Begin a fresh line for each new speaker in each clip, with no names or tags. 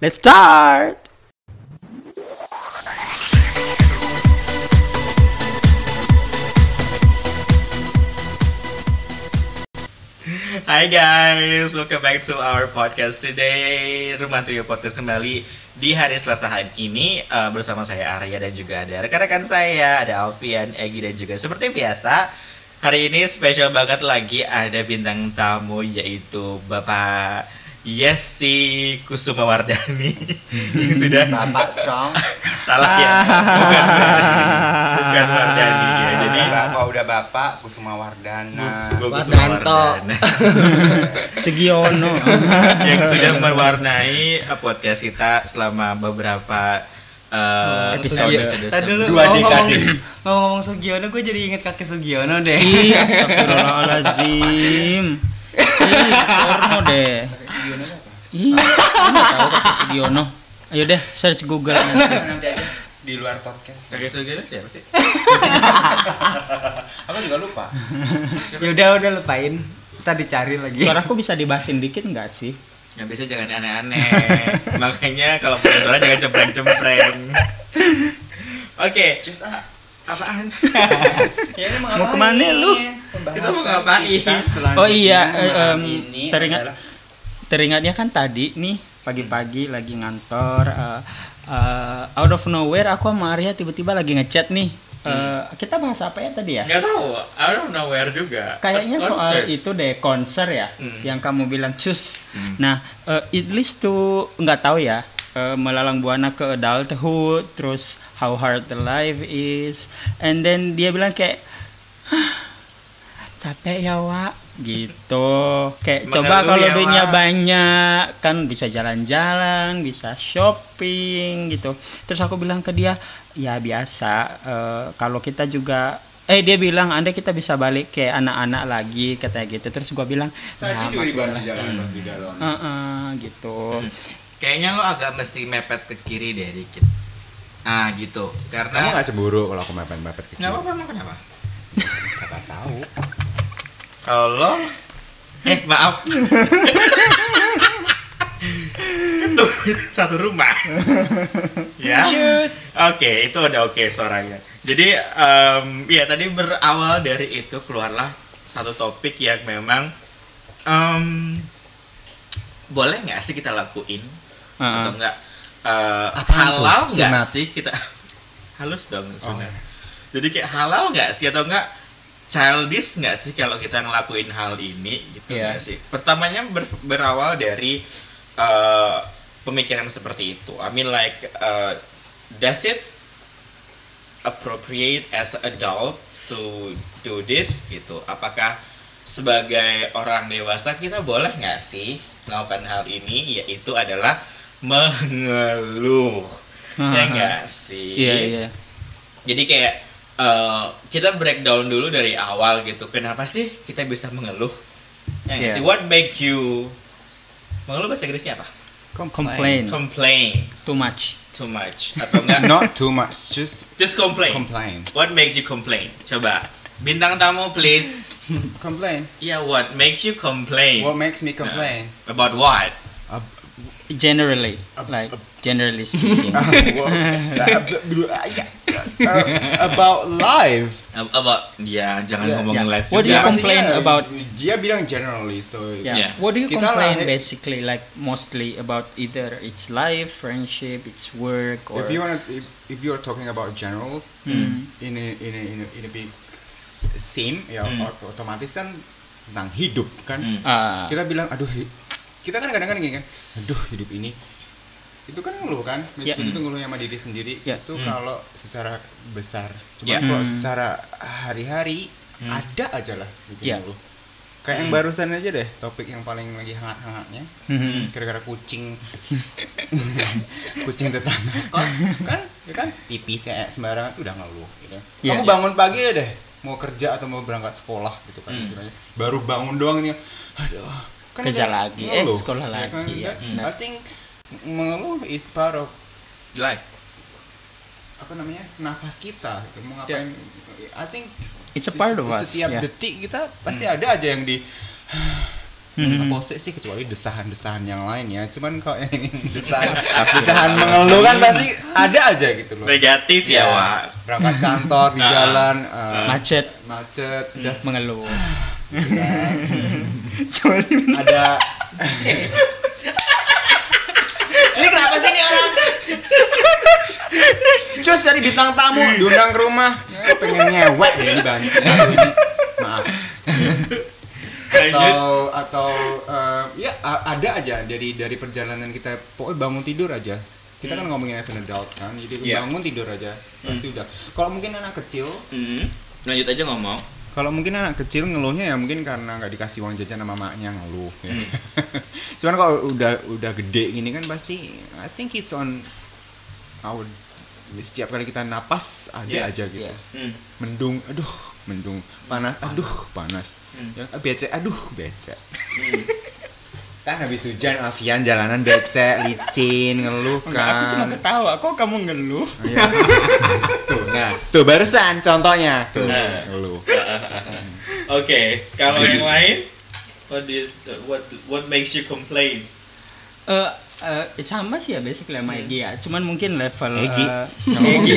Let's start. Hai guys, welcome back to our podcast today. Rumah Trio Podcast kembali di hari Selasa hari ini eh, bersama saya Arya dan juga ada rekan-rekan saya, ada Alfian, Egi dan juga seperti biasa hari ini spesial banget lagi ada bintang tamu yaitu Bapak Yesi Kusumawardani yang sudah
Bapak Cong
salah ya bukan bukan Wardani ya jadi
Bapak udah bapak Kusuma
Nah,
Wardana.
Bu- Bu
Wardanto.
Kusumawardana.
Segiono.
yang sudah mewarnai eh, podcast kita selama beberapa eh, episode
Iya.
episode sebelumnya.
Dua dekade.
Ngomong-ngomong Sugiono, gue jadi inget kakek Sugiono deh
Ih, astagfirullahalazim. Ih, porno deh. Ih, nggak tahu pakai Segiono. Ayo deh, search Google.
Nanti aja di luar podcast.
Kakek Sugiono siapa sih?
Aku juga lupa.
Yaudah, udah lupain Kita dicari lagi
Suaraku bisa dibahasin dikit nggak sih?
Yang biasa jangan aneh-aneh. Makanya kalau punya suara jangan cempreng-cempreng. Oke,
Cus ah.
apaan?
Ya, ini
Mau kemana lu?
Pembahasan
Kita mau ngapain?
kita selanjutnya
Oh iya, eh,
malam
em,
ini
teringat-
adalah
Nah,
Teringatnya kan tadi nih pagi-pagi lagi ngantor eh, eh, out of nowhere aku sama Arya tiba-tiba lagi ngechat nih. Eh, kita bahas apa ya tadi ya?
Gak tahu. I don't know where juga.
Kayaknya soal
Concert.
itu deh konser ya,
Iya. Hmm.
yang kamu bilang cus. Nah, eh, it leads to nggak tahu ya, eh, melalang buana ke adulthood, terus how hard the life is, and then dia bilang kayak "Hah, capek ya wa gitu kayak coba
Mengeluh
kalau
ya,
duitnya
Wak."
banyak kan bisa jalan-jalan bisa shopping gitu terus aku bilang ke dia ya biasa eh, kalau kita juga eh dia bilang anda kita bisa balik ke anak-anak lagi katanya gitu terus gua bilang
Tadi
"Ya,
juga
mak-
dibahas di jalan pas di galon.
eh, eh," gitu
Hmm. Kayaknya lo agak mesti mepet ke kiri deh dikit. Ah gitu.
Kamu
Karena
nggak cemburu kalau aku mepet-mepet kecil?
nggak apa-apa emang kenapa?
Siapa tahu.
Kalau lo eh maaf. Itu satu rumah. ya. Oke, itu udah oke suaranya. Jadi em, ya tadi berawal dari itu keluarlah satu topik yang memang em, boleh nggak sih kita lakuin atau
Heeh.
enggak eh,
Apaan tuh?
halal nggak
Sunat. Oh, iya.
sih kita halus dong sunat. Jadi kayak halal nggak sih atau enggak childish nggak sih kalau kita ngelakuin hal ini gitu
Iya.
nggak sih? Pertamanya ber- berawal dari eh, pemikiran seperti itu. I mean like eh, does it appropriate as adult to do this gitu? Apakah sebagai orang dewasa kita boleh nggak sih melakukan hal ini yaitu adalah mengeluh ya nggak sih
iya iya
jadi kayak eh, kita breakdown dulu dari awal gitu kenapa sih kita bisa mengeluh ya nggak
Iya.
sih what make you mengeluh bahasa Inggrisnya apa
complain
complain
too much
too much atau enggak
Not too much, just
just complain
complain.
What makes you complain? Coba. Bintang tamu please.
Complain.
Ya, what makes you complain?
What makes me complain?
About what?
generally like generally speaking
Nah. What's that? Uh, About life.
Ab- About ya jangan
Ya,
ngomongin
ya.
live
What do you
juga.
com- Complain
Maksudnya,
about-
Dia bilang generally, so
Yeah.
Yeah.
What do you
Kita
complain
lahir-
basically like mostly about either its life, friendship, its work or
if you wanna, if, if you are talking about general
Hmm.
in a in a in a, in a big s- scene, ya
Hmm.
ot- otomatis kan tentang hidup kan.
Hmm.
Ah,
kita bilang aduh hi- kita kan kadang-kadang gini kan aduh hidup ini itu kan ngeluh kan
Ya.
itu ngeluh sama diri sendiri
Ya.
itu kalau secara besar
Ya.
cuma kalau
Hmm.
secara hari-hari ada aja lah gitu
Ya. Hmm.
ngeluh. kayak yang barusan aja deh topik yang paling lagi hangat-hangatnya
Mhm.
gara-gara kucing kucing tetangga kos kan ya kan pipis kayak sembarangan udah ngeluh gitu.
Ya,
kamu
ya.
bangun pagi ya deh mau kerja atau mau berangkat sekolah gitu kan
Hmm.
istilahnya. baru bangun doang ini aduh kan
Kerja
ada
lagi, eh, sekolah
Ya kan,
lagi, ya,
that's-
benar.
I think mengeluh is part of
Live.
apa namanya nafas kita gitu. mau
Ya.
ngapain I think
It's a part of
setiap
us, ya.
detik kita pasti ada aja yang di
Mhm.
Pose sih kecuali desahan-desahan yang lain ya. Cuman kalau yang
Desahan.
desahan mengeluh kan pasti ada aja gitu loh.
Negatif ya, Wak.
Berangkat kantor di
Nah.
jalan eh,
macet
macet udah
mengeluh
ada ini kenapa sih ini orang cus dari bintang tamu diundang ke rumah Eh, pengen ngewek deh ini bahan satu ini maaf
Lanjut.
atau atau eh, ya a- ada aja dari dari perjalanan kita pokoknya bangun tidur aja kita kan ngomongin as an adult kan jadi
Hmm. Iya.
bangun tidur aja pasti udah kalau mungkin anak kecil
Hmm, lanjut aja ngomong.
kalau mungkin anak kecil ngeluhnya ya mungkin karena nggak dikasih uang jajan sama maknya ngeluh. Ya.
Hmm.
Cuman kalau udah udah gede gini kan pasti I think it's on our setiap kali kita napas ada
Yeah.
aja gitu.
Hmm.
Mendung, aduh, mendung. Panas,
Ah.
aduh, panas.
Hmm.
Ya, becek, aduh, becek. kan habis hujan Alfian jalanan becek, licin, ngeluh
Oh,
kan.
Enggak, aku cuma ketawa kok kamu ngeluh
Iya. tuh, nah, tuh barusan contohnya. Tuh,
Nah.
ngeluh.
Oke, kalau yang lain what do you, what what makes you complain?
Eh, eh, sama sih ya basically sama Egi ya cuman mungkin level
Egi.
eh,
Egi.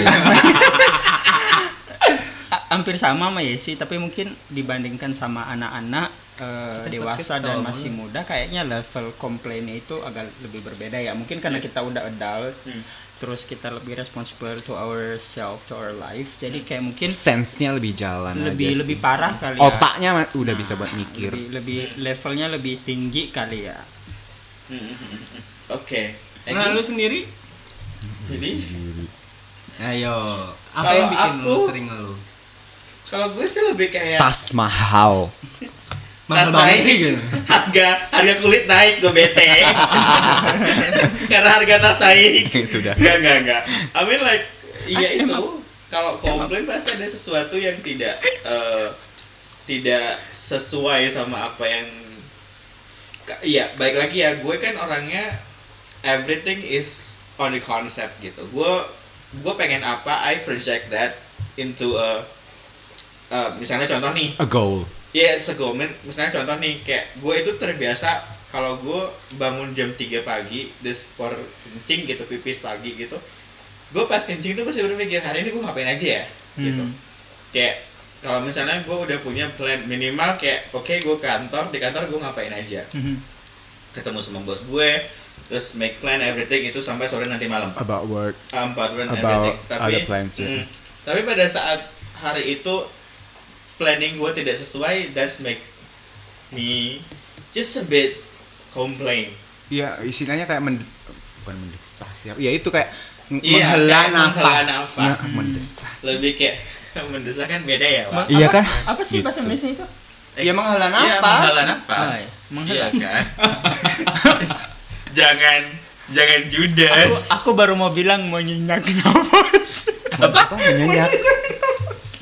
ha- hampir sama sama Yesi tapi mungkin dibandingkan sama anak-anak eh, dewasa dan masih muda kayaknya level komplainnya itu agak lebih berbeda ya mungkin karena kita udah adult
Hmm.
terus kita lebih responsible to ourselves to our life jadi kayak mungkin
sense-nya lebih jalan
lebih
aja
lebih
sih.
parah kali ya
otaknya ma- udah bisa buat mikir
lebih, lebih levelnya lebih tinggi kali ya
Hmm, hmm, hmm, hmm. Oke.
Nah,
Egi,
lu sendiri?
Jadi
Ayo, apa
Kalau
yang bikin lu
aku-
sering ngeluh?
kalau gue sih lebih kayak
tas mahal
Mahal
Tas
banget
naik.
sih gitu.
harga harga kulit naik gue bete karena harga tas naik
Itu dah.
nggak nggak nggak I mean like iya itu kalau komplain pasti ada sesuatu yang tidak eh, tidak sesuai sama apa yang Ka- iya baik lagi ya gue kan orangnya everything is on the concept gitu gue gue pengen apa I project that into a eh, misalnya contoh nih
a goal
Iya, segomen. Misalnya contoh nih, kayak gue itu terbiasa kalau gue bangun jam 3 pagi, this for kencing gitu, pipis pagi gitu. Gue pas kencing tuh pasti berpikir, hari ini gue ngapain aja ya? Gitu. Kayak, kalau misalnya gue udah punya plan minimal kayak, oke gue kantor, di kantor gue ngapain aja. Ketemu sama bos gue, terus make plan everything itu sampai sore nanti malam
about work
empat bulan everything.
About other plans, ya.
mm, tapi pada saat hari itu planning gue tidak sesuai that's make me just a bit complain
ya istilahnya kayak men bukan mendesah sih ya itu kayak ng-
Iya,
menghela
kayak
nafas,
menghela nafas.
Nah, mendesah
lebih kayak mendesah kan beda ya pak
Iya kan?
apa sih bahasa
Gitu.
Indonesia itu
Ya, menghela
Iya,
nafas.
menghela nafas
Ah, ya.
Iya kan jangan jangan
aku,
judes
aku baru mau bilang mau nyenyak nafas
apa menyenyak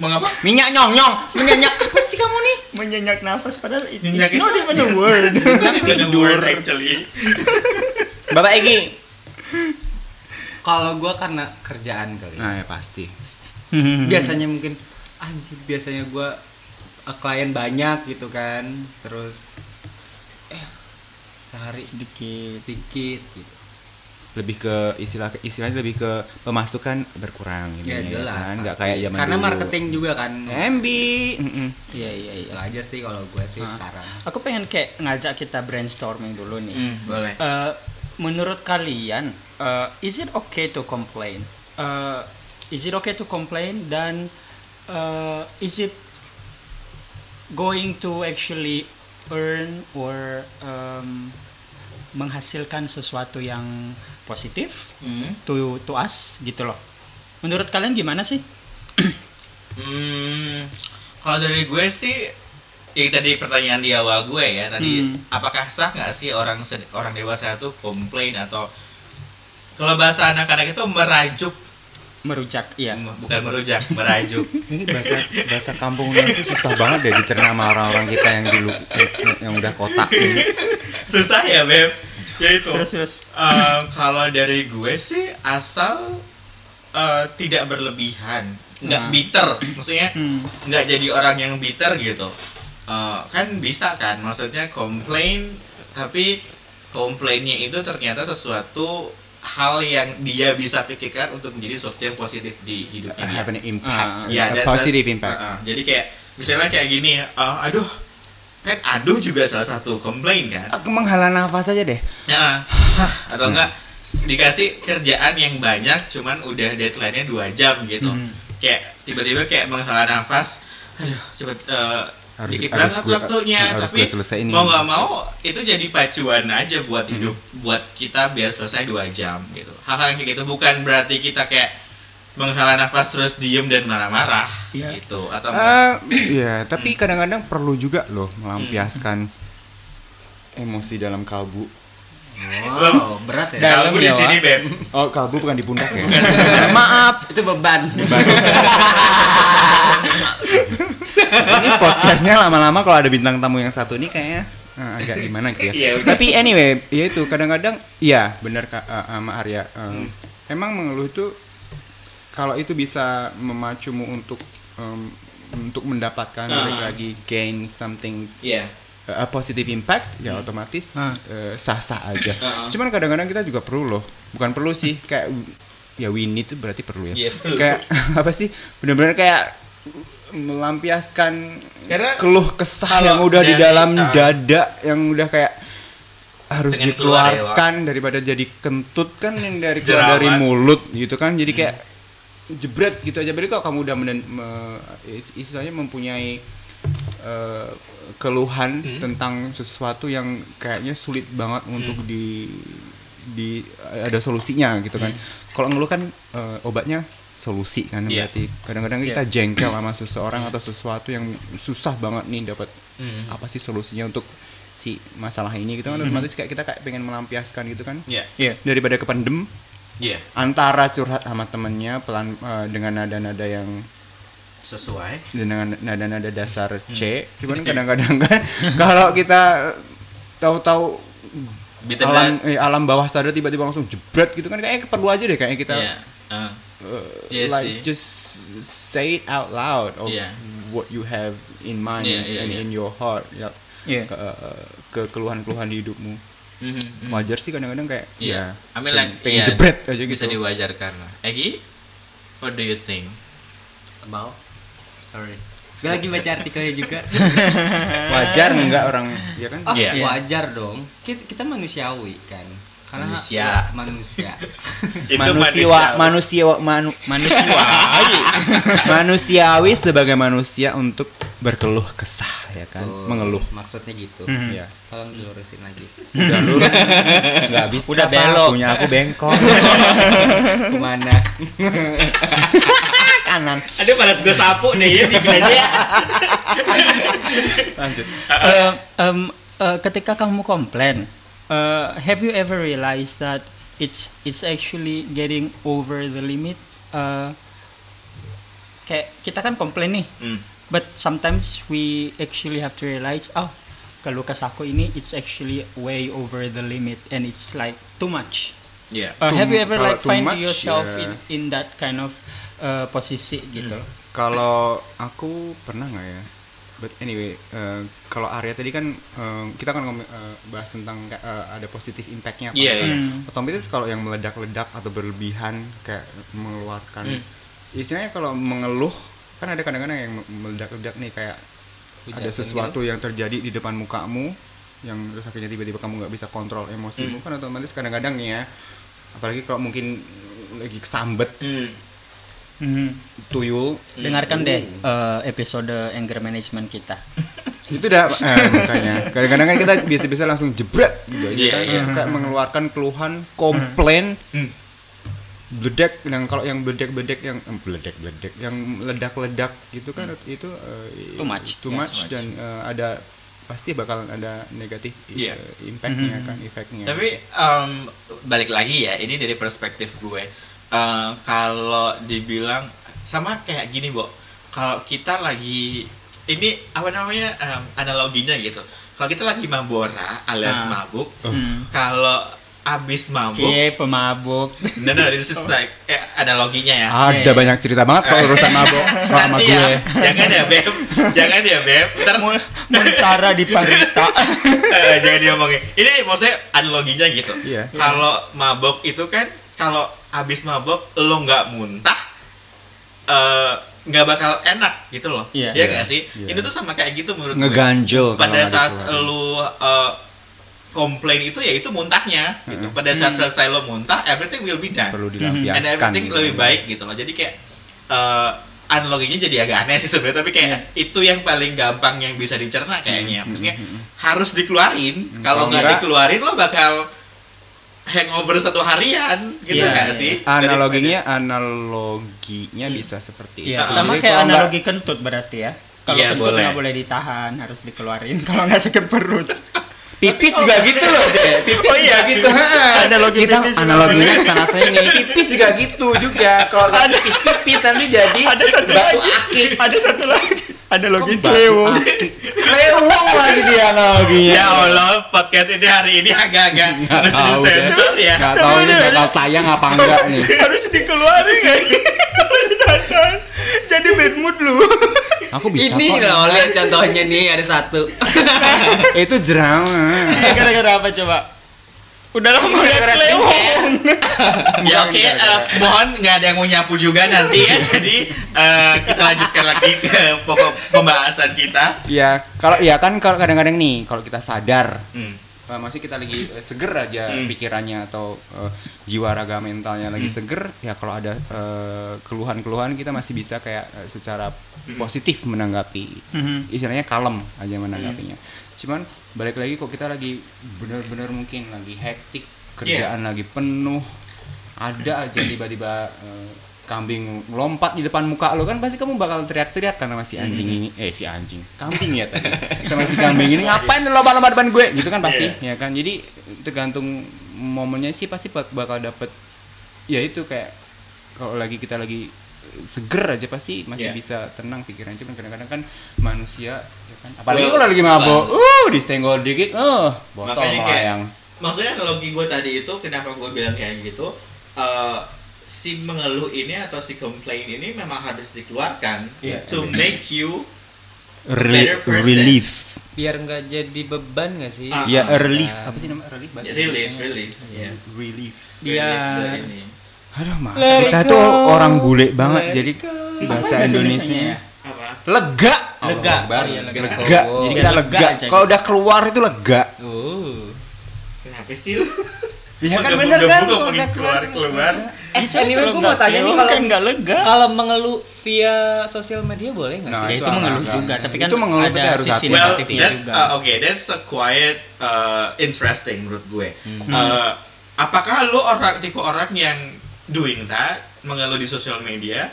mengapa
minyak nyong nyong menyenyak apa sih kamu nih
menyenyak nafas padahal it-
Nyenyak
it's not even a word
tidur actually
bapak Egi
Kalau gua karena kerjaan kali.
nah ya pasti
Iya,
biasanya mungkin anjir biasanya gua eh, klien banyak gitu kan terus eh, sehari
sedikit
sedikit gitu
lebih ke istilah istilahnya lebih ke pemasukan berkurang
ya
ininya,
jelas
kan nggak
pasti.
kayak zaman
karena
dulu. Eh?
marketing juga kan
MB mm-mm.
iya iya
itu
iya
aja sih kalau gue sih sekarang
aku pengen kayak ngajak kita brainstorming dulu nih
boleh
Eh, menurut kalian eh, is it okay to complain Eh, is it okay to complain dan eh, is it going to actually earn or um, menghasilkan sesuatu yang positif
Hmm.
to to us gitu loh menurut kalian gimana sih
Hmm, kalau dari gue sih yang tadi pertanyaan di awal gue ya tadi
Hmm.
apakah sah nggak sih orang sed- orang dewasa itu komplain atau kalau bahasa anak-anak itu merajuk
merujak ya
bukan merujak merajuk
Ini bahasa bahasa kampung itu susah banget deh dicerna sama orang-orang kita yang dulu yang, yang udah kotak ini.
susah ya beb ya itu
terus terus
Eh, kalau dari gue sih asal eh, tidak berlebihan nggak
Nah.
bitter maksudnya
Hmm.
nggak jadi orang yang bitter gitu eh, kan bisa kan maksudnya komplain tapi komplainnya itu ternyata sesuatu hal yang dia bisa pikirkan untuk menjadi sesuatu yang positif di hidupnya dia.
have an impact,
Ah,
Ya,
iya,
a
that-
positive
that-
Ah,
impact.
uh-uh. jadi kayak misalnya kayak gini, uh, aduh, kan aduh juga salah satu komplain kan.
ah.
Aku menghala Ah, nafas aja deh.
Ya, hah,
Hmm.
atau enggak dikasih kerjaan yang banyak, cuman udah deadline-nya dua jam gitu.
Hmm.
Kayak tiba-tiba kayak menghela nafas, aduh cepet eh,
Harus-
dikit banget
harus gue-
waktunya,
harus
tapi
gue selesaiin
mau
ini. Hmm.
nggak mau itu jadi pacuan aja buat hidup, buat kita biar selesai dua jam gitu. Hal-hal yang kayak gitu bukan berarti kita kayak menghela nafas terus diem dan marah-marah
Iya.
gitu atau enggak.
Eh, ya,
Hmm.
tapi kadang-kadang perlu juga loh melampiaskan
Hmm.
emosi dalam kalbu.
Wow, berat ya.
dalam
Kalau
ya,
gue di sini, Beb.
Oh, kalbu bukan di pundak ya.
Maaf,
Nah, Itu beban.
ini podcastnya lama-lama kalau ada bintang tamu yang satu ini kayaknya eh, agak gimana gitu ya.
Iya, udah.
Tapi anyway, ya itu kadang-kadang iya benar Kak eh, sama Arya. Eh,
Hmm.
Emang mengeluh itu kalau itu bisa memacumu untuk em, untuk mendapatkan
Ah.
balik lagi gain something
Iya.
eh, a positive impact
Hmm.
ya otomatis
Ah.
Nah.
eh, sah-sah aja.
Ah.
Cuman kadang-kadang kita juga perlu loh. Bukan perlu sih kayak ya we need itu berarti perlu ya.
Iya, perlu.
Kayak apa sih? Benar-benar kayak melampiaskan
Karena
keluh kesah
kalau
yang udah di
dari-
dalam
ah.
dada yang udah kayak harus
Pengen keluar ya,
dikeluarkan daripada jadi kentut kan yang dari
Jerawat.
keluar dari mulut gitu kan. Jadi kayak jebret gitu aja. Berarti kalau kamu udah menen- me- istilahnya mempunyai eh, keluhan tentang sesuatu yang kayaknya sulit banget untuk di di ada solusinya gitu kan. Kalau ngeluh kan eh, obatnya solusi kan
Iya.
berarti kadang-kadang kita jengkel sama seseorang atau sesuatu yang susah banget nih dapat apa sih solusinya untuk si masalah ini gitu kan otomatis kayak kita kayak pengen melampiaskan gitu kan
Iya.
Iya.
daripada kependem
Iya.
antara curhat sama temennya pelan eh, dengan nada-nada yang
Sesuai. Hmm.
dengan nada-nada dasar C. Cuman kadang-kadang kan kalau kita tahu-tahu
Bitten
alam eh, alam bawah sadar tiba-tiba langsung jebret gitu kan kayaknya perlu aja deh kayaknya kita
Iya. Ah.
uh,
Iya
like
sih.
just say it out loud of
Iya.
what you have in mind
Iya,
and,
iya,
and
iya.
in your heart ya
Iya.
ke, eh, ke keluhan-keluhan di hidupmu.
Mhm.
Wajar sih kadang-kadang kayak
Iya.
ya,
I mean like iya,
pengen jebret aja gitu.
Bisa diwajarkan lah. Egi, what do you think?
About. Sorry. Gue lagi baca artikelnya juga.
Wajar enggak orang ya kan?
Oh,
Iya.
wajar dong. Kita, kita manusiawi kan. Karena
Manusia.
ya, manusia.
manusia manusia manu,
Ah,
manusiawi manusiawi sebagai manusia untuk berkeluh kesah ya kan
Tuh,
mengeluh
Maksudnya gitu.
ya
Tolong dilurusin lagi.
udah lurus nggak bisa
Udah
Pak.
belok.
punya aku bengkok
Kemana?
kanan
Ada panas gue sapu nih ya di aja.
lanjut
Eh, em, eh, ketika kamu komplain, eh, have you ever realized that it's it's actually getting over the limit? Eh, kayak kita kan komplain nih,
Hmm.
but sometimes we actually have to realize, oh, kalau kesahku ini it's actually way over the limit and it's like too much.
Iya.
Eh,
Too-
have you ever
kalau
like
too
find
much,
yourself
ya.
in in that kind of eh, posisi gitu?
kalau aku pernah nggak ya but anyway eh, kalau Arya tadi kan eh, kita kan ngomong eh, bahas tentang eh, ada positif impactnya apa
Iya,
enggak.
iya.
otomatis kalau yang meledak-ledak atau berlebihan kayak mengeluarkan
Hmm.
istilahnya kalau mengeluh kan ada kadang-kadang yang meledak-ledak nih kayak ada sesuatu yang terjadi di depan mukamu yang terus akhirnya tiba-tiba kamu nggak bisa kontrol emosimu
Hmm.
kan otomatis kadang-kadang nih ya apalagi kalau mungkin lagi kesambet
Hmm.
iya.
Mhm.
tuyul
Dengarkan deh eh, episode anger management kita.
itu udah eh, makanya kadang-kadang kan kita biasa-biasa langsung jebret gitu aja
Iya,
kan
iya. Hmm.
Kayak mengeluarkan keluhan komplain beledek yang kalau yang beledek-beledek yang eh, beledek-beledek yang ledak-ledak gitu kan itu eh,
Too much.
too
Ya,
much
Hmm. too much.
dan eh, ada pasti bakalan ada negatif eh,
Iya.
impactnya kan efeknya
Tapi em, balik lagi ya, ini dari perspektif gue. Eh, kalau dibilang sama kayak gini, Bo. Kalau kita lagi ini apa namanya um,
Ah. Oh.
em, analoginya gitu. Kalau kita lagi mabora alias mabuk, kalau abis
Iya.
mabuk.
Cie pemabuk.
No, no, this is like eh, analoginya ya.
Ada banyak cerita banget kalau urusan mabok sama
Nanti
gue.
ya, jangan ya Beb, jangan ya Beb. Ntar
Mun- Muntara di parita.
Eh, jangan diomongin. Ini maksudnya analoginya gitu.
Iya.
Kalau mabok itu kan kalau abis mabok lo nggak muntah eh, nggak bakal enak gitu loh.
Iya.
Iya
Iya.
nggak sih?
Iya.
Ini tuh sama kayak gitu menurut gue.
Ngeganjel
Pada
kalau nggak
saat
dikeluarin.
lo eh, komplain itu ya itu muntahnya gitu. Pada saat selesai lo muntah, everything will be done.
Hmm. perlu
And
dilampiaskan.
everything
gitu.
lebih baik gitu loh. Jadi kayak eh, analoginya jadi agak aneh sih sebenarnya, tapi
Iya.
kayak itu yang paling gampang yang bisa dicerna kayaknya.
Hmm,
Maksudnya harus dikeluarin. Kalau
Kalau
nggak
nggak-
dikeluarin lo bakal hangover satu harian gitu
Iya,
nggak
iya.
sih?
Analoginya analoginya bisa seperti
Iya,
itu.
sama kayak
Jadi kalau nggak-
analogi kentut berarti ya. Kalau
Iya,
kentut
boleh.
nggak boleh ditahan, harus dikeluarin kalau nggak sakit perut.
Pipis juga gitu loh deh. Pipis
Oh iya,
juga gitu.
Analogi
kita
pipis juga.
analoginya kesana sini. Pipis juga gitu juga. Kalau nggak pipis pipis nanti jadi
Iya,
batu akik.
Ada satu lagi. Analogi
Kok batu akik? Lewung lagi dia analoginya.
Ya Allah, podcast ini hari ini agak-agak
Nggak
mesti
tahu deh.
sensor ya.
Nggak tahu ini bakal tayang apa enggak nih.
Harus dikeluarin kan? Kalau ditahan, jadi bad mood lu.
Aku bisa
Ini
kok.
loh, lihat contohnya nih ada satu.
Itu jerawat.
Iya, gara-gara apa coba? Udah lama ya kelewong.
Ya oke, eh, mohon nggak ada yang mau nyapu juga nanti ya. Jadi eh, kita lanjutkan lagi ke pokok pembahasan kita.
Ya, kalau ya kan kalau kadang-kadang nih kalau kita sadar
Hmm.
eh, maksudnya kita lagi eh, seger aja pikirannya atau eh, jiwa raga mentalnya lagi seger ya kalau ada eh, keluhan-keluhan kita masih bisa kayak eh, secara positif menanggapi istilahnya kalem aja menanggapinya cuman balik lagi kok kita lagi bener-bener mungkin lagi hektik kerjaan lagi penuh ada aja tiba-tiba eh, kambing lompat di depan muka lo kan pasti kamu bakal teriak-teriak karena masih anjing ini eh si anjing kambing ya tadi sama si kambing ini ngapain lo lompat-lompat depan gue gitu kan pasti ya kan jadi tergantung momennya sih pasti bak- bakal dapet ya itu kayak kalau lagi kita lagi eh, seger aja pasti masih
Iya.
bisa tenang pikiran cuman kadang-kadang kan manusia ya kan apalagi
Lo-
kalau lagi mabok uh disenggol dikit eh botol
Makanya kayak-
melayang
maksudnya analogi gue tadi itu kenapa gue bilang kayak gitu eh, si mengeluh ini atau si complain ini memang harus dikeluarkan to make you better person.
relief
Biar nggak jadi beban nggak sih? Iya.
Ah,
ya
ah.
relief apa sih nama relief bahasa
relief
Indonesia?
relief ya
relief
Relief
Biar
dari ini.
aduh mas kita tuh orang bule banget jadi bahasa Indonesia
Indonesianya ya?
apa
lega
Lega.
Allah,
Oh, iya, lega.
lega
Lega.
jadi
Biar
kita
lega
lega
aja
kalau
gitu.
udah keluar itu lega
Oh.
kenapa sih lu
ya kan
Udah-
bener
udah
kan
buka,
kalau
pengen
udah keluar
keluar keluar
Eh, anyway
Kalau
gue mau
nggak
tanya nih
kelewong
kalau
kan nggak lega.
kalau mengeluh via sosial media boleh nggak
Nah,
sih?
Ya, itu
itu
mengeluh
agak-
juga, tapi kan
itu mengeluh, tapi
ada
harus
sisi
hati.
well
negatifnya
that's
juga.
uh, okay that's a quiet uh, interesting menurut gue
Hmm.
Uh, apakah lu orang tipe orang yang doing that mengeluh di sosial media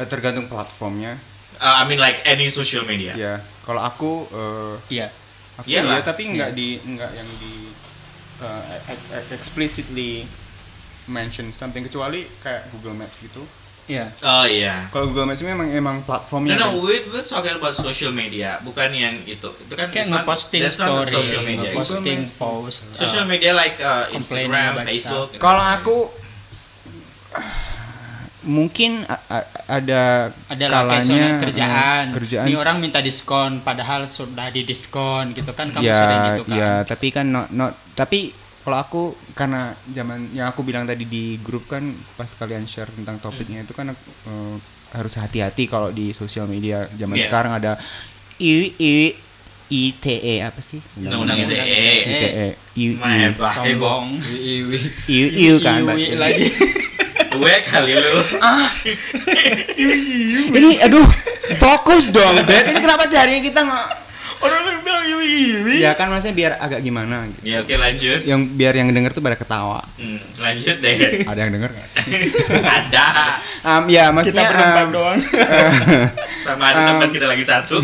Eh, tergantung platformnya
Uh, I mean like any social media
ya kalau aku eh,
Iya.
Aku
Iyalah.
iya, tapi nggak di nggak yang di uh, ex- ex- explicitly mention something kecuali kayak Google Maps gitu.
Iya.
oh iya
Kalau Google Maps memang emang
No,
platformnya.
no,
kan.
we we're talking about social media, bukan yang itu. Itu kan
Kayak
it's not-
ngeposting
that's not
story,
social media.
ngepost-
ngeposting
Itu
post. uh,
Social media like uh,
Complaining
Instagram,
about
Facebook.
Kalau aku mungkin a- a- ada
ada kalanya
kalanya
kerjaan.
eh, kerjaan
Ini orang minta diskon padahal sudah di diskon gitu kan kamu sering
ya
gitu kan.
ya tapi kan not not tapi kalau aku karena zaman yang aku bilang tadi di grup kan pas kalian share tentang topiknya itu kan aku, eh, harus hati-hati kalau di sosial media zaman
Iya.
sekarang ada i i ITE apa sih?
Undang-undang ITE.
E.
eh,
ITE. IU
Mebah, heboh.
eh, Sombong.
IU IU kan.
Iwi lagi.
Gue kali lu.
Ini aduh fokus dong, Beb. Ini kenapa sih hari ini kita nggak
Orang yang bilang iwi iwi.
Ya kan maksudnya biar agak gimana gitu.
Ya oke lanjut.
Yang biar yang denger tuh pada ketawa.
Hmm, lanjut deh.
Ada yang denger nggak sih?
Ada.
Um, ya maksudnya
berempat
um,
doang.
Sama ada teman kita lagi satu.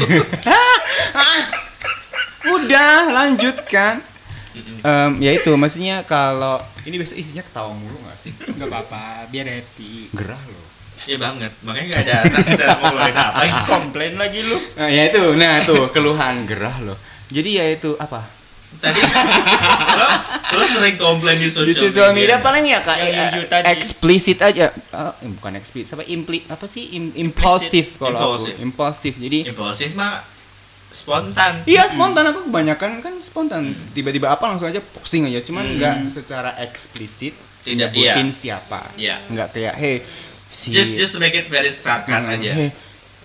Udah, lanjutkan. Em, ya itu maksudnya kalau ini biasa isinya ketawa mulu gak sih?
Enggak apa-apa, biar happy.
Gerah loh.
Iya banget. Makanya nggak ada cara mau ngeluarin apa.
Komplain lagi lu.
Nah, ya itu, nah tuh keluhan gerah loh. Jadi ya itu apa?
Tadi lo, lo sering komplain di
di
social,
sosial media paling ya kak
Yang
eh,
you tadi.
eksplisit aja Eh, bukan eksplisit apa impli apa sih Im- impulsif kalau aku
Impulsif.
impulsif jadi
Impulsif mah Ya, spontan.
Iya spontan aku kebanyakan kan spontan
Hmm.
tiba-tiba apa langsung aja posting aja cuman nggak secara eksplisit
Tidak, Hmm.
nyebutin
iya.
siapa
Iya.
nggak kayak hey si
Just just make it very sarkas
Hmm,
aja.
"Hey,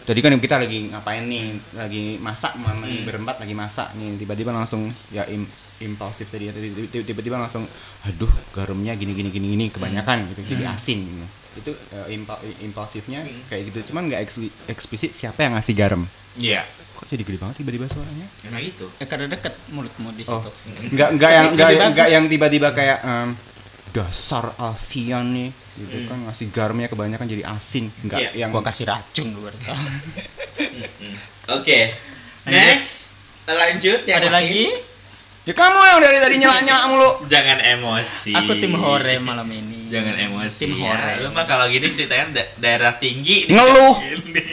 tadi kan kita lagi ngapain nih lagi masak mama
Hmm.
nih, berempat lagi masak nih tiba-tiba langsung ya im- impulsif tadi ya, tadi- tiba- tiba-tiba langsung aduh garamnya gini gini gini gini kebanyakan gitu
Hmm.
jadi asin gitu. itu eh, impa- impulsifnya kayak gitu cuman nggak eksli- eksplisit siapa yang ngasih garam
Iya.
kok jadi gede banget tiba-tiba suaranya
Karena itu.
Eh, karena deket mulutmu di
Oh,
situ.
nggak nggak yang
Lebih
nggak
bagus.
nggak yang tiba-tiba kayak em, dasar Alfian nih, gitu kan ngasih garamnya kebanyakan jadi asin, nggak
Iya.
yang
Hmm. Gua kasih racun gue berarti.
Oke. Next. Lanjut yang
Ada
lain.
lagi?
ya kamu yang dari tadi nyala nyala mulu.
Jangan emosi.
Aku tim hore malam ini.
Jangan emosi.
Tim
ya.
hore.
Lu mah kalau gini ceritanya da- daerah tinggi.
Ngeluh.
Gini.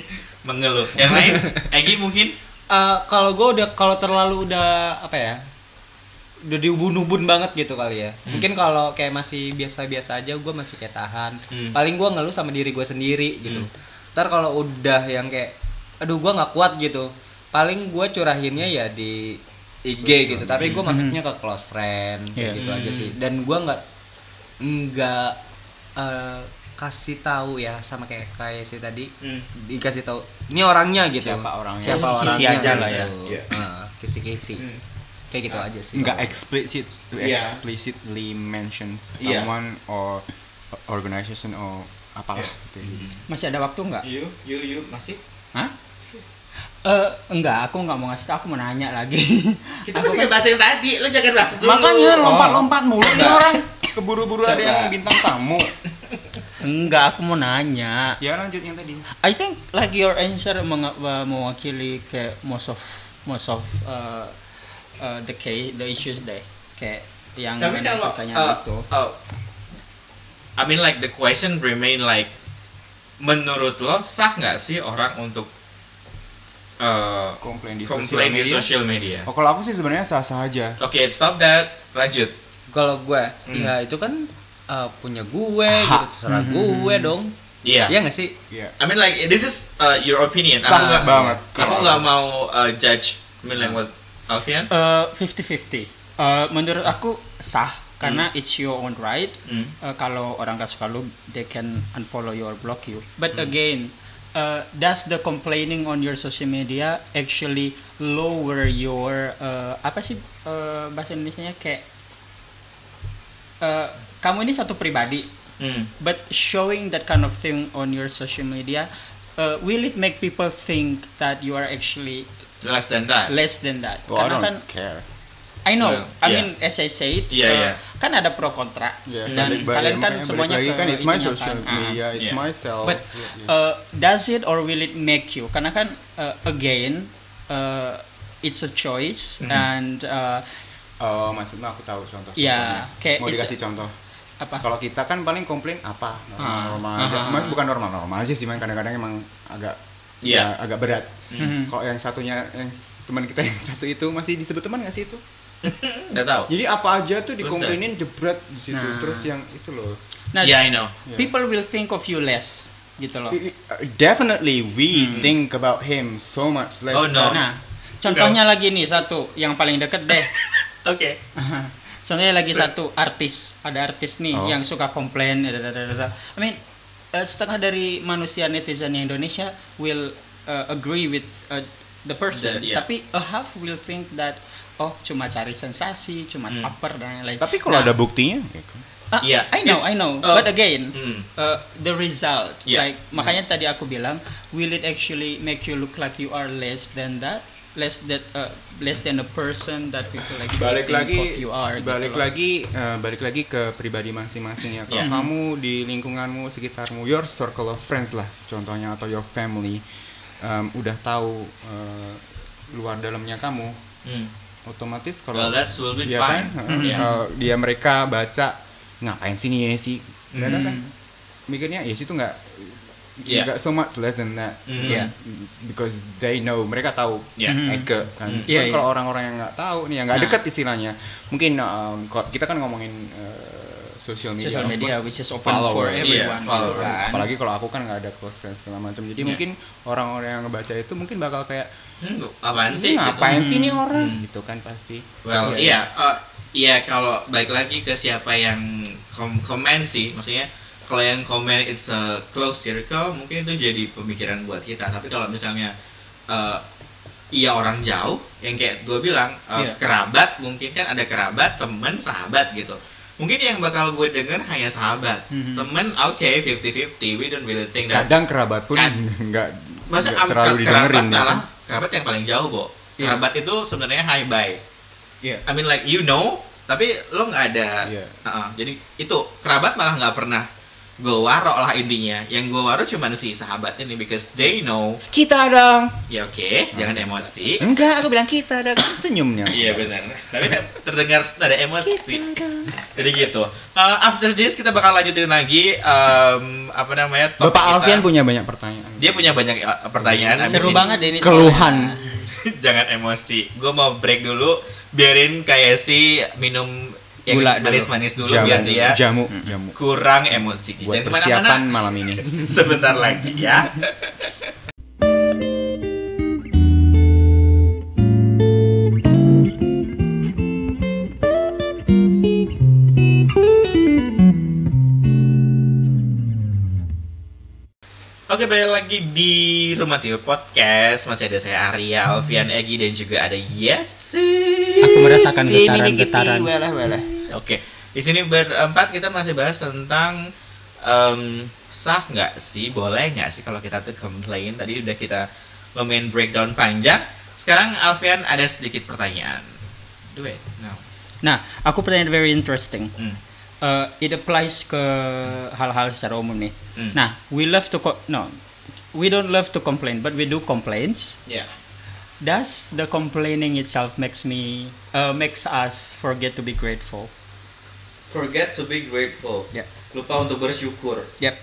Mengeluh. Yang lain Egi mungkin
Eh, kalau gue udah kalau terlalu udah apa ya udah diubun-ubun banget gitu kali ya mungkin kalau kayak masih biasa-biasa aja gue masih kayak tahan
Hmm.
paling gue ngeluh sama diri gue sendiri gitu ntar kalau udah yang kayak aduh gue nggak kuat gitu paling gue curahinnya ya di IG gitu tapi gue masuknya ke close friend kayak
Iya.
gitu aja sih dan gue nggak nggak eh, kasih tahu ya sama kayak kayak si tadi
Hmm.
dikasih tahu ini orangnya gitu
Siapa orangnya?
siapa
Kisi-kisi
orangnya
aja lah ya.
gitu.
Iya.
Nah, kisi-kisi kayak gitu aja sih
Nggak eksplisit,
Iya.
explicitly mention
Iya.
someone or organization or apalah. gitu.
Masih ada waktu nggak?
you you you masih
Hah?
Eh, enggak, aku nggak mau ngasih tau, aku mau nanya lagi. kan-
kita Nah, masih ngebahas yang tadi lu jangan bahas dulu
Makanya lompat-lompat mulu nih
Coba.
orang. Keburu-buru ada
Coba.
yang bintang tamu.
enggak, aku mau nanya.
Ya lanjut yang tadi.
I think like your answer meng- uh, mewakili kayak most of most of uh, uh, the case the issues deh kayak yang
tapi
ada
kalau
pertanyaan
uh,
itu
uh, I mean like the question remain like menurut lo sah nggak sih orang untuk uh,
Komplain di
komplain di social
sosial media.
media
Oh, kalau aku sih sebenarnya sah-sah aja.
oke stop that lanjut
kalau gue ya itu kan eh, punya gue gitu terserah gue dong
iya
iya nggak sih
Iya.
I mean like this is uh, your opinion
Sah
aku nggak
banget. Nah.
aku nggak mau uh, judge I mean like what Alfian
fifty fifty Eh, menurut aku sah karena it's your own right
Hmm.
Uh, kalau orang gak suka lu they can unfollow you or block you but
Hmm.
again uh, does the complaining on your social media actually lower your uh, apa sih uh, bahasa Indonesia kayak uh, kamu ini satu pribadi
Hmm.
but showing that kind of thing on your social media uh, will it make people think that you are actually
less than that
less than that
Oh, I
karena
don't
kan
care.
I know I
Yeah. Yeah.
mean as I said uh,
Yeah, yeah.
kan ada pro kontra
Ya,
dan kalian
balik- balik-
kan
makanya balik
semuanya
lagi
ke
kan it's my
itunya
social
kan. Ah.
media, it's
Yeah.
myself.
But uh, does it or will it make you? Karena kan uh, again uh, it's a choice
Mm-hmm.
and uh,
oh, maksudnya aku tahu contoh.
Iya,
contohnya.
kayak
mau
is-
dikasih contoh.
apa?
Kalau kita kan paling komplain apa
Ah.
normal, normal aja.
Ah.
Mas bukan normal normal aja sih, man. kadang-kadang emang agak
Iya.
ya, agak berat.
Mhm.
Kalau yang satunya yang s- teman kita yang satu itu masih disebut teman nggak sih itu?
nggak tahu
Jadi apa aja tuh
Terus
dikomplainin jebret di situ.
Nah.
Terus yang itu loh.
Nah,
yeah I know
Yeah.
people will think of you less gitu loh.
I- i- Definitely we
Hmm.
think about him so much less.
Oh, no.
Nah, contohnya lagi nih satu yang paling deket deh.
oke
Contohnya lagi satu artis, ada artis nih
Oh.
yang suka komplain. dadadadada. I mean eh, setengah dari manusia netizen yang Indonesia will eh, agree with eh, the person,
The- yeah.
tapi a half will think that oh cuma cari sensasi, cuma caper dan lain-lain.
Tapi kalau
Nah,
ada buktinya, ya kan?
ah,
Hmm. Yeah.
I know,
If-
I know.
uh,
But again,
mm.
uh, the result,
Yeah. Hmm.
like makanya tadi aku bilang, will it actually make you look like you are less than that, less that uh, less than a person that people like
balik
think
lagi
of you are. gitu
balik
loh.
lagi eh, balik lagi ke pribadi masing-masing ya kalau
Yeah.
kamu di lingkunganmu sekitarmu your circle of friends lah contohnya atau your family em, udah tahu eh, luar dalamnya kamu
Hmm.
otomatis kalau
well that's will be
ya
fine
kan,
Mm.
eh,
Yeah.
eh, dia ya,
Hmm.
mereka baca ngapain sih nih Yesi "Ya, Nggak ada kan mikirnya Yesi tuh nggak
Yeah.
nggak so much less than that
Mm.
Because- because they know mereka tahu
Yeah.
Mm. Eke kan
Mm.
Cuman
Yeah,
kalau orang-orang yang nggak tahu nih yang nggak
Nah.
deket istilahnya mungkin um, ko- kita kan ngomongin uh, social media
Social
of
media
course, iya,
which is open for
followers.
everyone
Yes,
gitu
followers.
kan.
apalagi kalau aku kan nggak ada close friends segala macam jadi
Yeah.
mungkin orang-orang yang ngebaca itu mungkin bakal kayak
Hmm, apaan sih?
ini
gitu.
ngapain sih nih orang gitu kan pasti
Iya,
Well, iya, eh, iya kalau balik lagi ke siapa yang kom- komen sih, maksudnya kalau yang komen it's a close circle, mungkin itu jadi pemikiran buat kita. Tapi kalau misalnya eh, iya orang jauh, yang kayak gue bilang eh,
Iya.
kerabat, mungkin kan ada kerabat, temen, sahabat gitu. Mungkin yang bakal gue denger hanya sahabat,
Mhm.
temen oke 50-50, we don't really think that.
kadang kerabat pun
Ya. Kad-
nggak
Masa
nggak terlalu didengerin ya
malah
kan.
kerabat yang paling jauh, Bo.
Iya.
Kerabat itu sebenarnya high bye.
Iya.
I mean like you know, tapi lo nggak ada.
Iya.
Uh-uh. Jadi itu kerabat malah nggak pernah gue waro lah intinya. Yang gue waro cuman si sahabat ini because they know.
kita dong
Ya oke, jangan emosi.
enggak aku bilang kita dong senyumnya
Iya benar. Tapi terdengar ada emosi. Jadi gitu. Uh, after this kita bakal lanjutin lagi um, apa namanya? topik
Bapak
kita.
Alfian Iya. punya banyak pertanyaan
Dia punya banyak uh, pertanyaan. abis
Seru
ini-
banget ini.
keluhan
jangan emosi. Gue mau break dulu, biarin kayak si minum yang
Gula dulu.
manis-manis dulu,
jamu
biar dia
jamu jamu
kurang emosi.
buat
Jangan
persiapan
kemana-mana.
malam ini
Sebentar lagi ya. Oke balik lagi di Rumah Tio Podcast Masih ada saya Arya, Alfian, Egi dan juga ada Yesi
Aku merasakan getaran-getaran.
Oke, di sini berempat kita masih bahas tentang em, sah nggak sih, boleh nggak sih kalau kita tuh komplain. Tadi udah kita lumayan breakdown panjang. Sekarang Alfian ada sedikit pertanyaan. Do it now.
Nah, aku pertanyaan very interesting.
Hmm.
Uh, it applies ke hal-hal secara umum nih.
Hmm.
Nah, we love to co- no, we don't love to complain, but we do complaints.
Yeah.
Does the complaining itself makes me uh, makes us forget to be grateful?
Forget to be grateful.
Yeah.
Lupa untuk bersyukur.
Yep.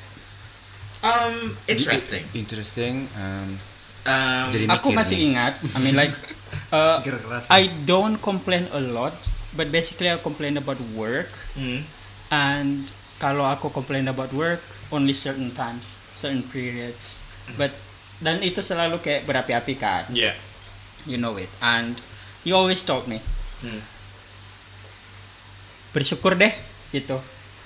Um, interesting.
interesting um,
Um,
Jadi-
Aku
mikir
masih
nih.
ingat. I mean like uh,
Mikir keras
I don't complain a lot, but basically I complain about work
hmm,
and kalau aku complain about work only certain times, certain periods. But dan itu selalu kayak berapi-api kan.
yeah.
you know it and you always told me
Hmm.
bersyukur deh gitu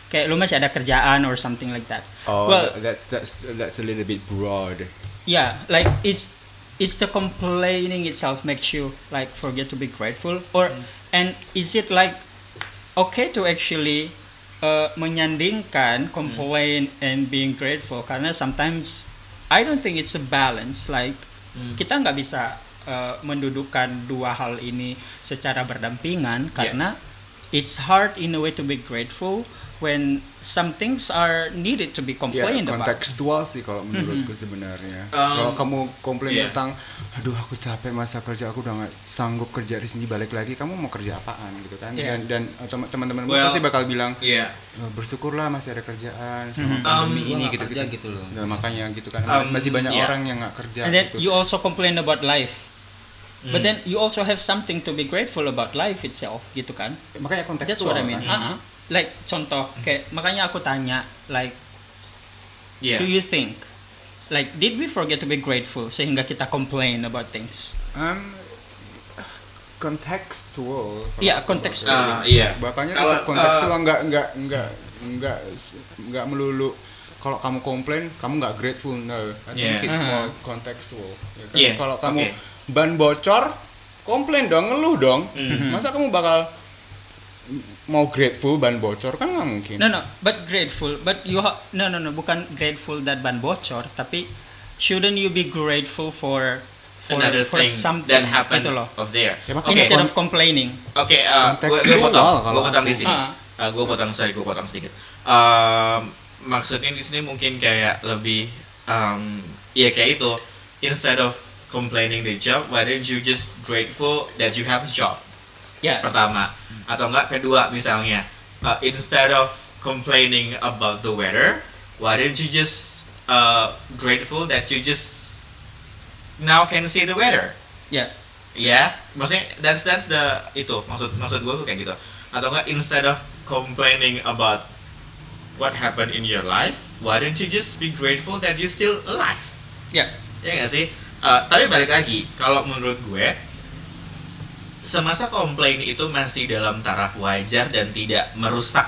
kayak lu masih ada kerjaan or something like that
oh
well
that's that's that's a little bit broad
yeah like it's it's the complaining itself makes you like forget to be grateful or and is it like okay to actually uh, menyandingkan complain and being grateful karena sometimes I don't think it's a balance like
Hmm.
kita nggak bisa uh, mendudukan dua hal ini secara berdampingan karena it's hard in a way to be grateful when some things are needed to be
Ya,
complained about
kontekstual sih kalau menurutku sebenarnya.
Um,
kalau kamu komplain
iya.
tentang, aduh aku capek masa kerja aku udah nggak sanggup kerja di sini balik lagi, kamu mau kerja apaan gitu kan?
Iya.
Dan dan eh, tem- teman-temanmu
Well,
pasti bakal bilang
Yeah.
"Eh, bersyukurlah masih ada
Hmm.
kerjaan selama
Um,
gua
pandemi ini
nggak
gitu
kerja
gitu.
gitu loh.
Nah, makanya gitu kan
Um,
masih banyak
iya.
orang yang nggak kerja
and then
gitu.
you also complain about life but
Hmm.
then you also have something to be grateful about life itself gitu kan
makanya kontekstual.
that's what I mean
kan.
Ah,
uh-huh.
ah. like contoh kayak makanya aku tanya like
Yeah.
do you think like did we forget to be grateful sehingga kita complain about things
Um, kontekstual. kalau
Iya,
aku
kontekstual.
baca.
Ah, iya.
Bapaknya
Kalau,
tetap kontekstual
ah.
eh,
nggak nggak nggak nggak nggak melulu kalau kamu komplain kamu nggak grateful no I
Yeah.
think it's
Ah.
more contextual ya kan?
Yeah,
kalau kamu
okay.
ban bocor komplain dong ngeluh dong
Mm-hmm.
Mhm.
masa kamu bakal mau grateful ban bocor kan nggak mungkin
No no, but grateful. But you ha- no no no, bukan grateful that ban bocor, tapi shouldn't you be grateful for for
Another
for
thing
something
that happened
gitu loh.
of there.
Ya, makanya
Instead
kon-
of complaining.
Oke, eh gue
Kontekstual
potong,
kalau
gue potong di
aku.
sini.
Ah.
gue potong, sorry, gue potong sedikit. Em, maksudnya di sini mungkin kayak lebih, em, ya kayak itu. Instead of complaining the job, why don't you just grateful that you have a job?
Ya.
Pertama, atau enggak kedua misalnya, eh, instead of complaining about the weather, why don't you just uh, grateful that you just now can see the weather.
Ya.
Ya, maksudnya that's that's the itu maksud maksud gue tuh kayak gitu. Atau enggak instead of complaining about what happened in your life, why don't you just be grateful that you still alive?
Ya.
Ya nggak sih? Eh, tapi balik lagi, kalau menurut gue semasa komplain itu masih dalam taraf wajar dan tidak merusak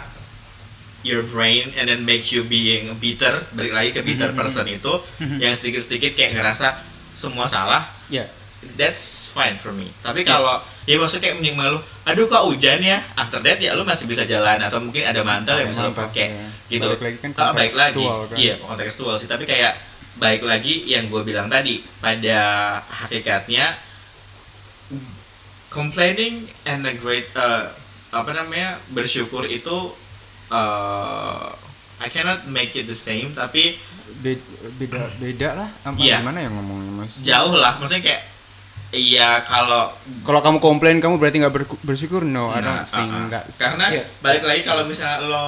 your brain and then makes you being bitter balik lagi ke bitter person itu yang sedikit-sedikit kayak ngerasa semua salah
Ya.
that's fine for me tapi kalau ya maksudnya kayak mending malu aduh kok hujan ya after that ya lu masih bisa jalan atau mungkin ada mantel yang bisa lu
Mantap,
pakai
ya.
gitu
Balik lagi kan
Ah, balik lagi
kontekstual kan.
iya kontekstual sih tapi kayak baik lagi yang gue bilang tadi pada hakikatnya complaining and the great uh, apa namanya bersyukur itu uh, I cannot make it the same tapi
Be- beda beda lah apa
Iya.
gimana ya ngomongnya mas
jauh lah maksudnya kayak iya kalau
kalau kamu komplain kamu berarti nggak berku- bersyukur no Oh, I
Nah,
don't think
uh-uh.
nggak
karena
Iya.
balik lagi kalau misalnya lo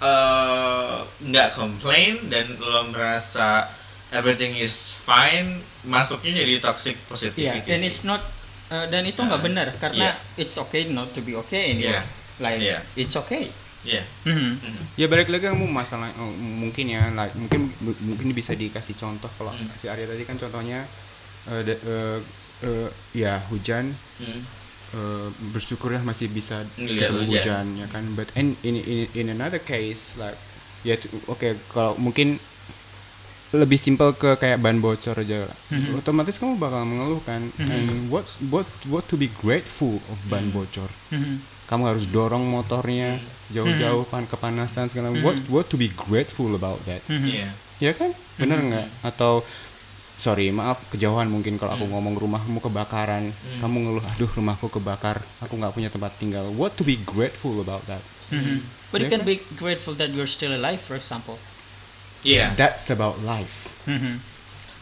eh, nggak complain dan lo merasa everything is fine masuknya jadi toxic
Iya.
positivity
And
sih.
it's not eh, dan itu nggak
Ah.
benar karena
Iya.
it's okay not to be okay and
Iya.
like
Iya.
it's okay.
Iya.
Mhm.
Mhm.
ya balik lagi kamu masalah oh, mungkin ya like, mungkin mu- mungkin bisa dikasih contoh kalau
Hmm.
si Arya tadi kan contohnya eh, da- eh, eh, ya hujan
Mhm.
eh, bersyukurlah masih bisa
Ngelihat
ketemu
hujan.
hujan ya kan but and in in in another case like ya tu- oke kalau mungkin lebih simpel ke kayak ban bocor aja lah. otomatis kamu bakal mengeluh kan and what what what to be grateful of ban bocor
Mhm.
kamu harus dorong motornya jauh-jauh pan kepanasan segala what what to be grateful about that
Iya.
ya kan bener nggak atau sorry maaf kejauhan mungkin kalau aku ngomong rumahmu kebakaran kamu ngeluh aduh rumahku kebakar aku nggak punya tempat tinggal what to be grateful about that
Mhm.
But you
Ya
can be grateful that you're still alive, for example.
Iya.
that's about life
Mhm.
Um, like,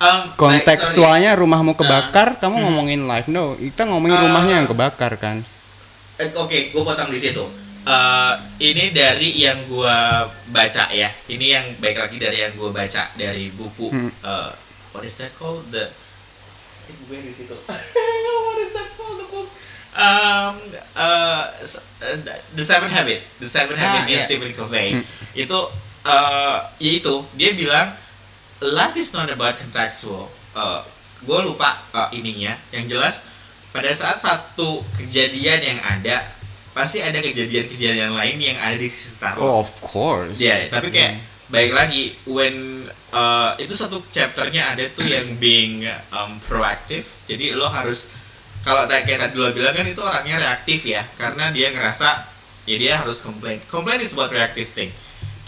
sorry.
kontekstualnya rumahmu kebakar kamu ngomongin life no kita ngomongin
Ah.
rumahnya yang kebakar kan
Eh, Oke, gue potong di situ. Eh, ini dari yang gue baca ya. Ini yang baik lagi dari yang gue baca dari buku.
Hmm.
eh, what is that called? The gue di situ. what is that called? The book? Um, eh, s- eh, The Seven Habit. The Seven
Ah,
Habit nya
iya.
Stephen Covey. Itu, eh, ya itu dia bilang life is not about contextual. gue lupa eh, ininya. Yang jelas pada saat satu kejadian yang ada pasti ada kejadian-kejadian lain yang ada di sekitar lo.
oh of course
Iya, tapi kayak baik lagi when uh, itu satu chapternya ada tuh yang being um, proactive. Jadi lo harus kalau tadi- kayak tadi lo bilang kan itu orangnya reaktif ya, karena dia ngerasa ya dia harus complain. Complain is about reactive thing.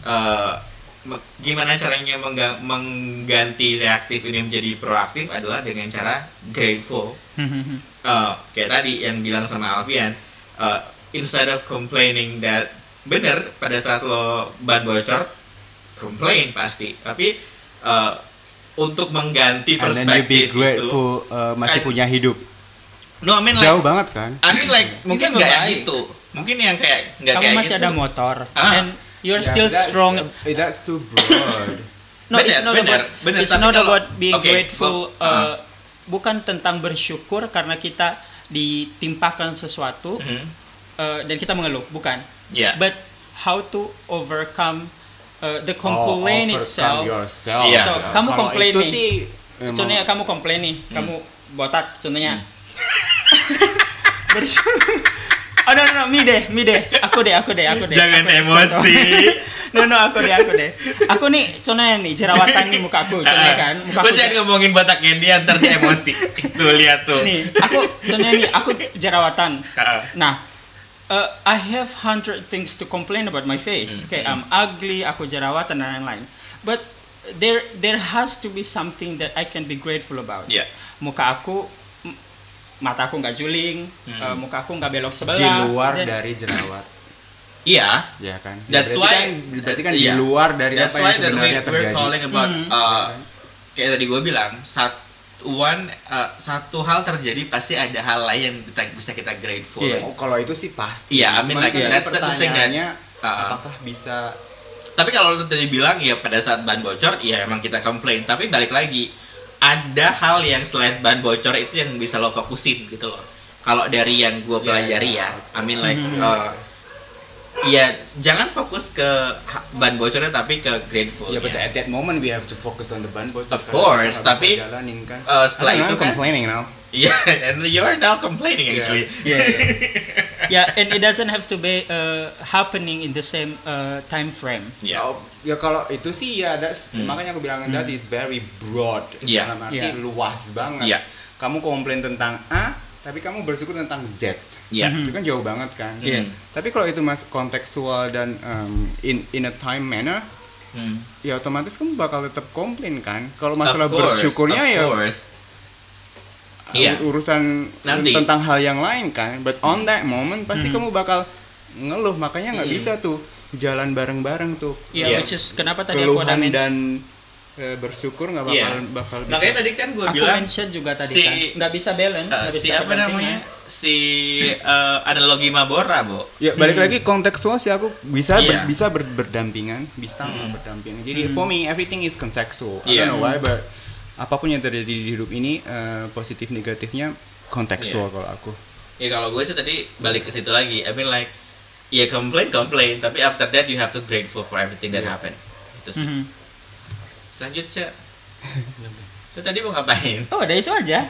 Uh, me- gimana caranya mengga- mengganti reaktif ini menjadi proaktif adalah dengan cara grateful
Mhm.
uh, kayak tadi yang bilang sama Alfian uh, instead of complaining that bener pada saat lo ban bocor complain pasti tapi uh, untuk mengganti
and then you be
perspektif itu
grateful uh, masih
And-
punya hidup
no I mean like,
jauh banget kan
I mean like mungkin nggak yang
membaik.
itu mungkin yang kayak nggak
Kamu
kayak
masih
gitu.
ada motor
Ah.
and you're
Iya.
still strong.
Eh, that's too broad
No, it's
Benar,
not
benar,
about
benar.
it's
Tapi
not
kalau-
about being
Oke,
grateful.
gua- ah.
eh, bukan tentang bersyukur karena kita ditimpakan sesuatu
Mhm.
eh, dan kita mengeluh, bukan.
Ya.
But how to overcome eh, the
Oh,
complaint
overcome
itself?
yourself.
Iya.
So, kamu
Kalau
komplain
itu
nih.
sih Hmm. emang-
Contohnya kamu komplain nih, kamu botak contohnya.
Hmm.
bersyukur. Oh no no no, me deh, me deh. Aku deh, aku deh, aku deh.
jangan
aku deh,
emosi
contoh. no no, aku deh, aku deh. Aku nih contohnya nih jerawatan nih mukaku,
Ah.
contohnya
ya.
kan. Mukaku
Lo jangan ngomongin bataknya dia ntar dia emosi tuh lihat tuh
nih aku contohnya nih aku jerawatan
Ah.
nah eh, I have hundred things to complain about my face
Hmm.
okay I'm ugly aku jerawatan dan lain-lain but there there has to be something that I can be grateful about
Iya.
muka aku m- mata aku nggak juling
Hmm.
eh, muka aku nggak belok sebelah
di luar
dan-
dari jerawat
iya
ya kan
That's
berarti
why-
kan, berarti kan di
Iya.
luar dari
That's
apa yang
why that we-
sebenarnya
we're
terjadi
calling about
Mhm.
uh, kayak tadi gue bilang satu one uh, satu hal terjadi pasti ada hal lain yang kita, bisa kita grateful.
Iya.
oh kalau itu sih pasti
Iya, I mean
Cuman
like,
kan
that's the thing that-
pertanyaannya
Uh-uh.
apakah bisa
tapi kalau tadi bilang ya pada saat ban bocor ya emang kita komplain tapi balik lagi ada hal yang selain ban bocor itu yang bisa lo fokusin gitu loh kalau dari yang
Iya,
gue pelajari ya I mean like uh, ya jangan fokus ke ha- ban bocornya tapi ke grateful
Ya, but at that moment we have to focus on the band boys.
Of course, tapi-
jalanin kan.
setelah
I
itu
don't know, I'm
kan
complaining now.
yeah and you are now complaining actually
yeah, yeah. yeah, and it doesn't have to be uh, happening in the same uh, time frame.
Yeah.
Oh, ya kalau itu sih ya that's-
Iya. Hmm.
makanya aku bilang that is very broad
Iya.
dalam arti
Iya.
luas banget.
Iya.
Kamu komplain tentang A, tapi kamu bersyukur tentang Z.
Iya.
Itu kan jauh banget kan.
Iya.
Tapi kalau itu mas kontekstual dan um, in in a time manner,
Hmm.
ya otomatis kamu bakal tetap komplain kan. Kalau
Of
masalah
course,
bersyukurnya
of
ya
course. Iya.
ur- urusan
Nanti.
tentang hal yang lain kan. But on that moment pasti
Hmm.
kamu bakal ngeluh, makanya nggak
Hmm. Iya.
bisa tuh jalan bareng-bareng tuh
Yeah,
Yeah.
Iya, which is kenapa tadi aku ada
keluhan
men-
dan eh, bersyukur nggak bakal
Iya.
bakal bisa.
Makanya tadi kan gue
aku
bilang
mention juga tadi
si-
kan nggak bisa balance,
uh,
nggak
si
bisa
apa namanya?
pendampingan.
Si uh, analogi Mabora, Bo.
ya balik lagi kontekstual sih aku bisa
Hmm.
ber-
Iya. Hmm.
bisa ber- berdampingan, bisa nggak berdampingan. Jadi for me everything is contextual. I
Iya.
don't know why but apapun yang terjadi di hidup ini eh, positif negatifnya
Iya.
kontekstual kalau aku.
Ya kalau gue sih tadi balik ke situ lagi. I mean like ya complain complain, tapi after that you have to grateful for everything that
Iya.
happened. Itu sih.
Mm-hmm.
Mhm.
Lanjut, Cek. Itu tadi mau ngapain?
Oh, ada itu aja.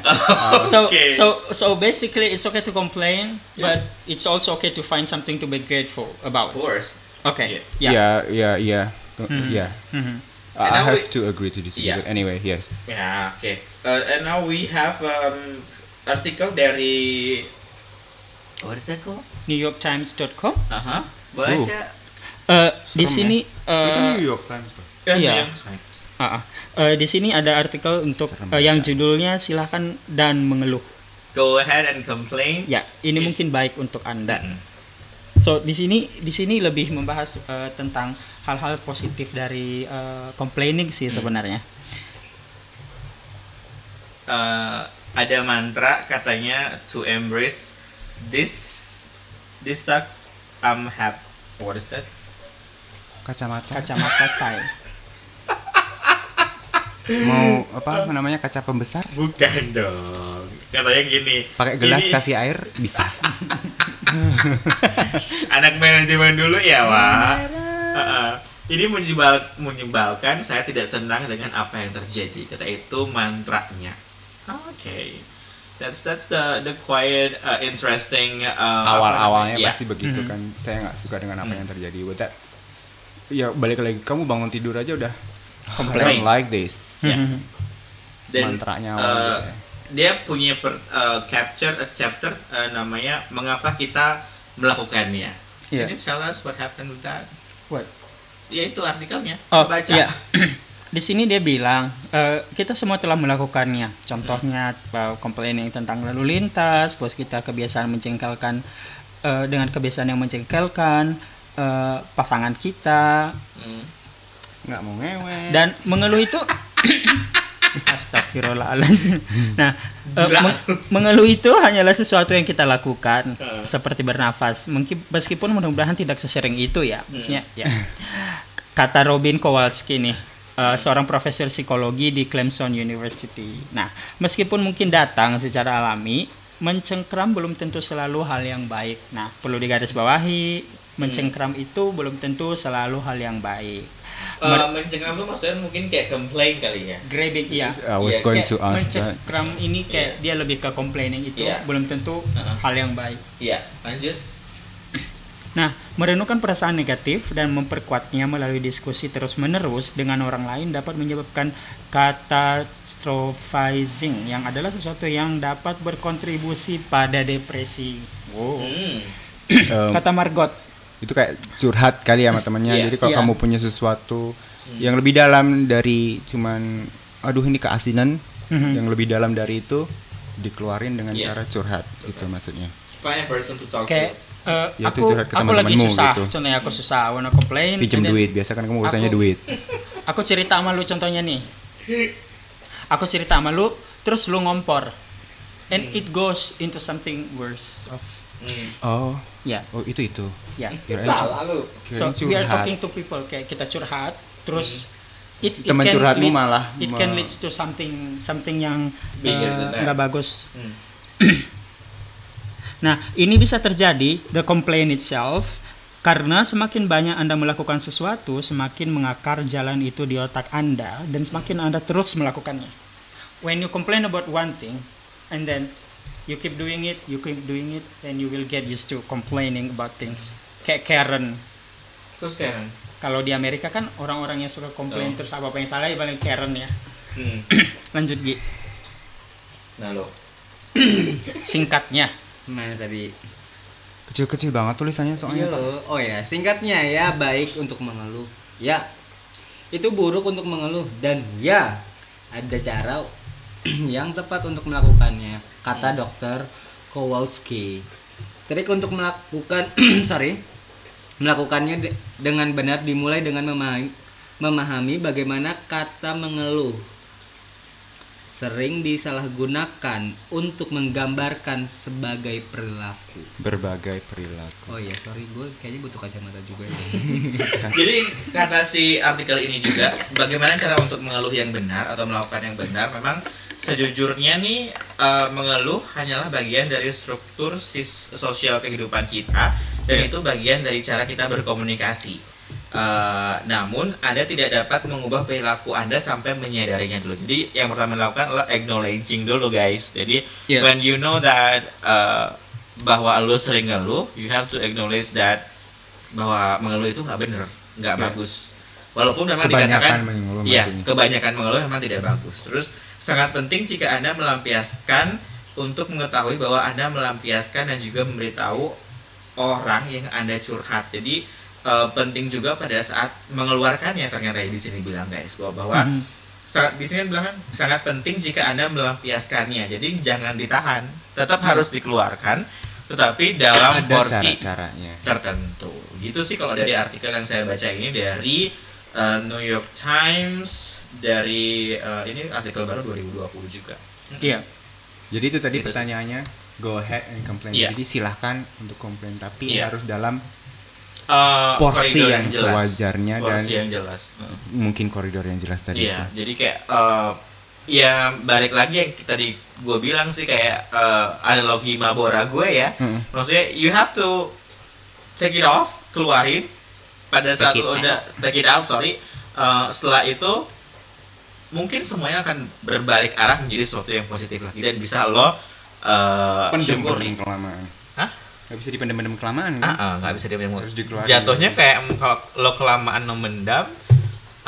So,
Oke.
so, so basically, it's okay to complain, but it's also okay to find something to be grateful about.
Of course.
Okay. Yeah.
Ya ya ya ya.
Mhm.
Iya. Hmm. And now
I have
we-
to agree to disagree.
Iya.
But anyway, yes.
Ya, oke. Uh, and now we have um, artikel dari What is that called?
NewYorkTimes.com.
Aha. Oh. Boleh,
Uh.
Cak.
Eh, di
Serem ya.
sini. eh,
itu New York Times tuh.
Kan
Iya. Ah, ah. Eh, di sini ada artikel untuk
Serem
eh, yang
baca.
judulnya silahkan dan mengeluh.
Go ahead and complain.
Ya, ini mungkin baik untuk anda.
Mm.
So di sini di sini lebih membahas eh, tentang hal-hal positif dari eh, complaining
Mm.
sih sebenarnya.
eh, ada mantra katanya to embrace this this sucks I'm happy what is that
Kacamata.
Kacamata tai.
Mau apa namanya kaca pembesar?
bukan dong katanya gini
Pakai gelas
ini
kasih air bisa.
anak manajemen dulu ya wah Heeh. ini menyebal, menyebalkan saya tidak senang dengan apa yang terjadi kata itu mantranya oke that's that's the the quiet uh, interesting uh,
Ah,
awal-awalnya
iya.
ya.
pasti begitu
Hmm.
kan saya nggak suka dengan apa yang terjadi but that's ya balik lagi kamu bangun tidur aja udah
Oh,
I
Complain.
don't like this
Ya. Dan, eh,
mantranya awal gitu ya.
dia punya per- eh, capture a chapter eh, namanya mengapa kita melakukannya.
Iya.
Can you tell us what happened with that?
What?
Ya itu artikelnya.
Oh,
Baca.
iya. di sini dia bilang eh, kita semua telah melakukannya. Contohnya eh, complaining tentang lalu lintas, bos kita kebiasaan mencengkelkan eh, dengan kebiasaan yang mencengkelkan eh, pasangan kita
Hmm.
nggak mau ngewe
dan mengeluh itu Astagfirullahaladzim. Nah, eh, meng- mengeluh itu hanyalah sesuatu yang kita lakukan,
Heeh.
seperti bernafas. Mengki- Meskipun mudah-mudahan tidak sesering itu ya, maksudnya. Ya. Kata Robin Kowalski nih, eh, seorang profesor psikologi di Clemson University. Nah, meskipun mungkin datang secara alami, mencengkram belum tentu selalu hal yang baik. Nah, perlu digarisbawahi, mencengkram itu belum tentu selalu hal yang baik.
Eh, mencengkram tuh maksudnya mungkin kayak complain kali ya.
grabbing iya
I was
Iya,
going
Kayak
to ask that
mencengkram ini kayak dia lebih ke complaining itu
Iya.
belum tentu
Uh-uh.
hal yang baik
Iya, lanjut.
nah merenungkan perasaan negatif dan memperkuatnya melalui diskusi terus menerus dengan orang lain dapat menyebabkan catastrophizing yang adalah sesuatu yang dapat berkontribusi pada depresi
Hmm.
Um,
kata Margot
itu kayak curhat kali ya sama temannya
Iya,
jadi kalau
iya.
kamu punya sesuatu
Hmm.
yang lebih dalam dari cuman aduh ini keasinan
Hmm.
yang lebih dalam dari itu dikeluarin dengan
Iya.
cara curhat gitu maksudnya
Find a person to talk
kayak
to.
eh,
Ya, itu
aku
curhat ke
aku lagi
teman-temanmu
susah
gitu.
contohnya aku susah I wanna complain
pinjam
and then-
duit biasa kan kamu urusannya
aku-
duit
aku cerita sama lu contohnya nih aku cerita sama lu terus lu ngompor and it goes into something worse of
Oh,
ya
oh itu itu.
ya
Kirain
Salah lu.
kirain
so we are
curhat. Hmm.
talking to people kayak kita curhat terus it, it
Teman
can
curhatmu
leads-
malah
it
me-
can leads to something something yang
Bigger
eh,
than that.
nggak bagus
Hmm.
nah ini bisa terjadi the complaint itself karena semakin banyak Anda melakukan sesuatu, semakin mengakar jalan itu di otak Anda dan semakin Anda terus melakukannya. When you complain about one thing and then you keep doing it, you keep doing it, then you will get used to complaining about things. Kayak Karen,
Terus Karen.
kalau di Amerika kan orang-orang yang suka komplain
Oh.
terus apa apa yang salah ya paling Karen ya
Hmm.
lanjut Gi
Nah lo.
singkatnya
Mana Nah, tadi?
Kecil-kecil banget tulisannya
Iya
soalnya.
loh. Oh ya, singkatnya ya baik untuk mengeluh. Ya. Itu buruk untuk mengeluh dan ya ada cara yang tepat untuk melakukannya. Kata dokter Kowalski. Trik untuk melakukan sorry melakukannya de- dengan benar dimulai dengan memahami, memahami bagaimana kata mengeluh sering disalahgunakan untuk menggambarkan sebagai perilaku.
Berbagai
Oh
perilaku.
iya, sorry gue kayaknya butuh kacamata juga ya.
Jadi kata si artikel ini juga bagaimana cara untuk mengeluh yang benar atau melakukan yang benar memang sejujurnya nih eh, mengeluh hanyalah bagian dari struktur sis sosial kehidupan kita dan itu bagian dari cara kita berkomunikasi. Eh, namun Anda tidak dapat mengubah perilaku Anda sampai menyadarinya dulu. Jadi yang pertama dilakukan adalah acknowledging dulu guys. Jadi
Iya.
when you know that eh, bahwa lo sering ngeluh, you have to acknowledge that bahwa mengeluh itu nggak bener, nggak bagus. Walaupun memang dikatakan
Iya. Kebanyakan mengeluh
Iya,
maksudnya.
kebanyakan mengeluh memang tidak bagus. Terus sangat penting jika Anda melampiaskan untuk mengetahui bahwa Anda melampiaskan dan juga memberitahu orang yang Anda curhat. Jadi eh, penting juga pada saat mengeluarkannya ternyata ya, di sini bilang guys bahwa, bahwa
Mhm.
sangat di sini bilang kan, sangat penting jika Anda melampiaskannya. Jadi jangan ditahan, tetap harus dikeluarkan tetapi dalam
Ada
porsi
cara-caranya.
tertentu. Gitu sih kalau dari artikel yang saya baca ini dari uh, New York Times dari uh, ini artikel baru 2020 juga. Eh,
iya
Jadi itu tadi
Itu sih.
pertanyaannya. Go ahead and complain.
Iya.
Jadi silahkan untuk komplain tapi
Iya.
harus dalam
Uh,
Porsi
koridor
yang sewajarnya
porsi
dan-
yang jelas. Uh,
mungkin koridor yang jelas tadi.
Iya,
itu.
jadi kayak uh, ya balik lagi yang tadi gue bilang sih kayak uh, analogi Mabora gue ya.
Mm-mm.
Maksudnya you have to take it off, keluarin pada saat
Take it
lo udah take it out, sorry. Uh, setelah itu mungkin semuanya akan berbalik arah menjadi sesuatu yang positif lagi dan bisa lo uh,
Pendem
syukuri.
kelamaan.
Hah?
Gak bisa dipendem-pendem kelamaan kan?
Ah, ah, nggak bisa dia
Harus dikeluarin.
Jatuhnya kayak em- kalau lo kelamaan memendam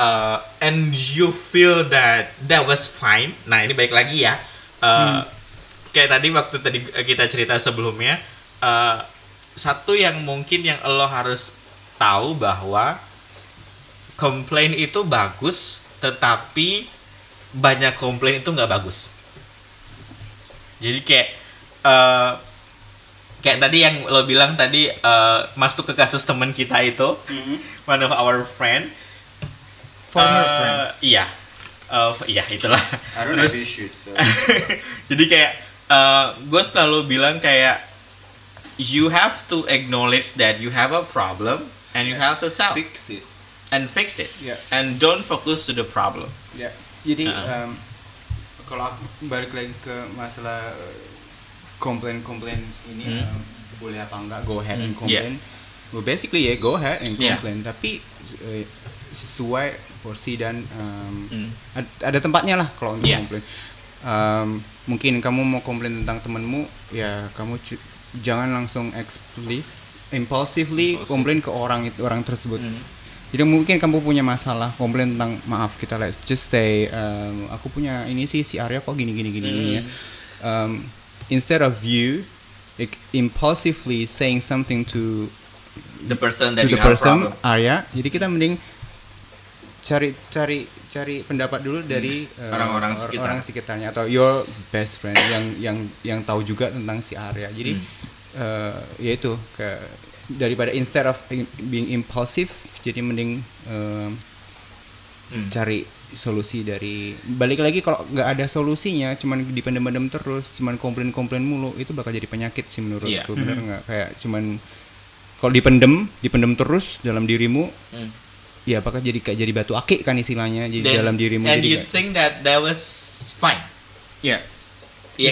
uh, and you feel that that was fine. Nah, ini baik lagi ya. Uh, kayak tadi waktu tadi kita cerita sebelumnya uh, satu yang mungkin yang lo harus tahu bahwa komplain itu bagus, tetapi banyak komplain itu nggak bagus. Jadi kayak eh, kayak tadi yang lo bilang tadi eh, masuk ke kasus teman kita itu, one of our friend,
former
Eh,
friend
iya, Eh, iya itulah.
I don't have
Terus-
issues. So.
jadi kayak gue selalu bilang kayak you have to acknowledge that you have a problem and you have to tell
Fix it.
and fix it
Yeah.
and don't focus to the problem.
Ya, jadi
Uh-uh.
em, kalau aku balik lagi ke masalah eh, komplain-komplain
Hmm.
ini em, boleh apa enggak go ahead and
Hmm, yeah.
complain. Well, basically ya go ahead and
Yeah.
complain, tapi eh, sesuai porsi dan em,
Hmm.
ad- ada tempatnya lah kalau untuk
Yeah.
komplain. Em, mungkin kamu mau komplain tentang temenmu, ya kamu cu- jangan langsung explicit impulsively
Impulsive.
komplain ke orang itu orang tersebut.
Hmm.
Jadi mungkin kamu punya masalah, komplain tentang maaf kita let's just say um, aku punya ini sih si Arya kok gini gini gini gini ya.
Hmm.
Um, instead of you like, impulsively saying something to
The person that you
to the
have a
person
problem.
Arya, jadi kita mending cari cari cari pendapat dulu dari um,
Hmm. Orang-orang
or-
sekitar.
orang sekitarnya atau your best friend yang yang yang tahu juga tentang si Arya. Jadi
Hmm.
yaitu ke daripada instead of being impulsive, jadi mending um,
Hmm.
cari solusi dari balik lagi kalau nggak ada solusinya cuman dipendem-pendem terus cuman komplain-komplain mulu itu bakal jadi penyakit sih menurut
Iya.
aku bener nggak kayak cuman kalau dipendem dipendem terus dalam dirimu
Hmm.
ya bakal jadi kayak jadi batu akik kan istilahnya
Dan-
jadi dalam dirimu
And
jadi
you
kayak-
think that that was fine?
Ya.
Iya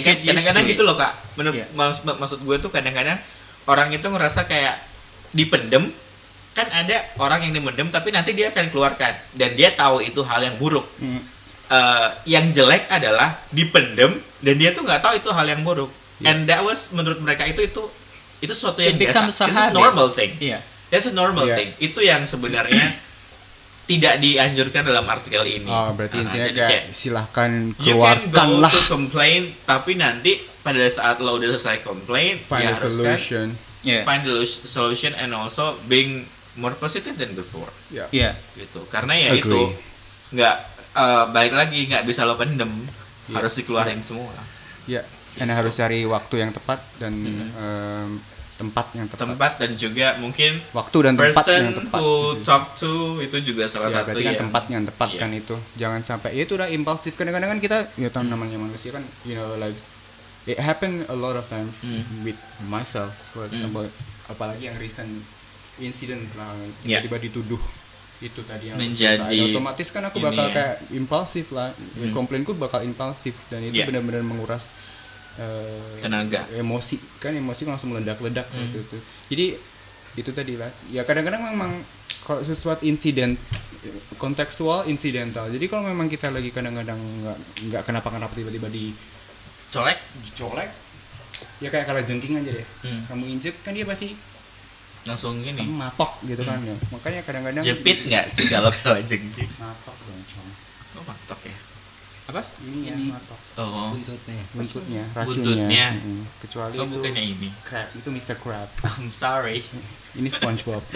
You
kan
get used to
kadang-kadang
it.
gitu loh kak. Menurut
Iya.
maks- mak- maksud gue tuh kadang-kadang orang itu ngerasa kayak dipendem. Kan ada orang yang dipendem tapi nanti dia akan keluarkan dan dia tahu itu hal yang buruk.
Mm,
Eh, yang jelek adalah dipendem dan dia tuh nggak tahu itu hal yang buruk.
Iya.
And that was menurut mereka itu itu itu sesuatu yang
It becomes
biasa.
a
It's a
habit.
normal thing.
Iya.
That's a normal
Iya.
thing. Itu yang sebenarnya tidak dianjurkan dalam artikel ini.
Ah, berarti
Ah,
intinya
jadi
kayak silahkan
you can go
keluarkanlah
to complain tapi nanti pada saat lo udah selesai complain
find
ya
a
harus
solution
Ya.
kan find the lu- solution and also being more positive than before
ya
Ya.
gitu karena ya
Agree.
itu nggak eh, balik lagi nggak bisa lo pendem harus dikeluarin semua
ya dan harus
Gitu.
cari waktu yang tepat dan em, tempat yang tepat
Hmm. tempat dan juga mungkin
waktu dan tempat yang
person
tepat
who
gitu.
talk to Iya, itu juga salah
ya
satu
berarti kan
yang-
tempatnya yang tepat
Iya.
kan itu jangan sampai ya itu udah impulsif kadang-kadang kan kita ya tahu namanya manusia kan you know like it happen a lot of times
Hmm.
with myself for example apalagi yang recent incidents lah
Ya.
tiba-tiba dituduh itu tadi yang
Menjadi
ada. otomatis kan aku
ini
bakal
ya. Hmm.
kayak impulsif lah komplainku bakal impulsif dan itu
Ya.
benar-benar menguras eh,
Tenaga.
emosi kan emosi langsung meledak-ledak
Hmm.
gitu tuh. Jadi itu tadi lah. Ya kadang-kadang memang kalau sesuatu insiden kontekstual insidental. Jadi kalau memang kita lagi kadang-kadang nggak nggak kenapa-kenapa tiba-tiba di
colek
dicolek ya kayak kalau jengking aja deh.
Hmm.
Kamu injek kan dia pasti
langsung gini
matok gitu kan ya. Makanya kadang-kadang
Hmm. jepit nggak sih kalau kalau jengking
matok dong, Cong.
oh matok ya
Apa? Ini ya matok.
oh
buntutnya
Buntutnya, racunnya.
Buntutnya.
Mm-mm. Kecuali
oh,
itu
bukannya ini
crab, itu Mr. Crab.
I'm sorry
Ini SpongeBob.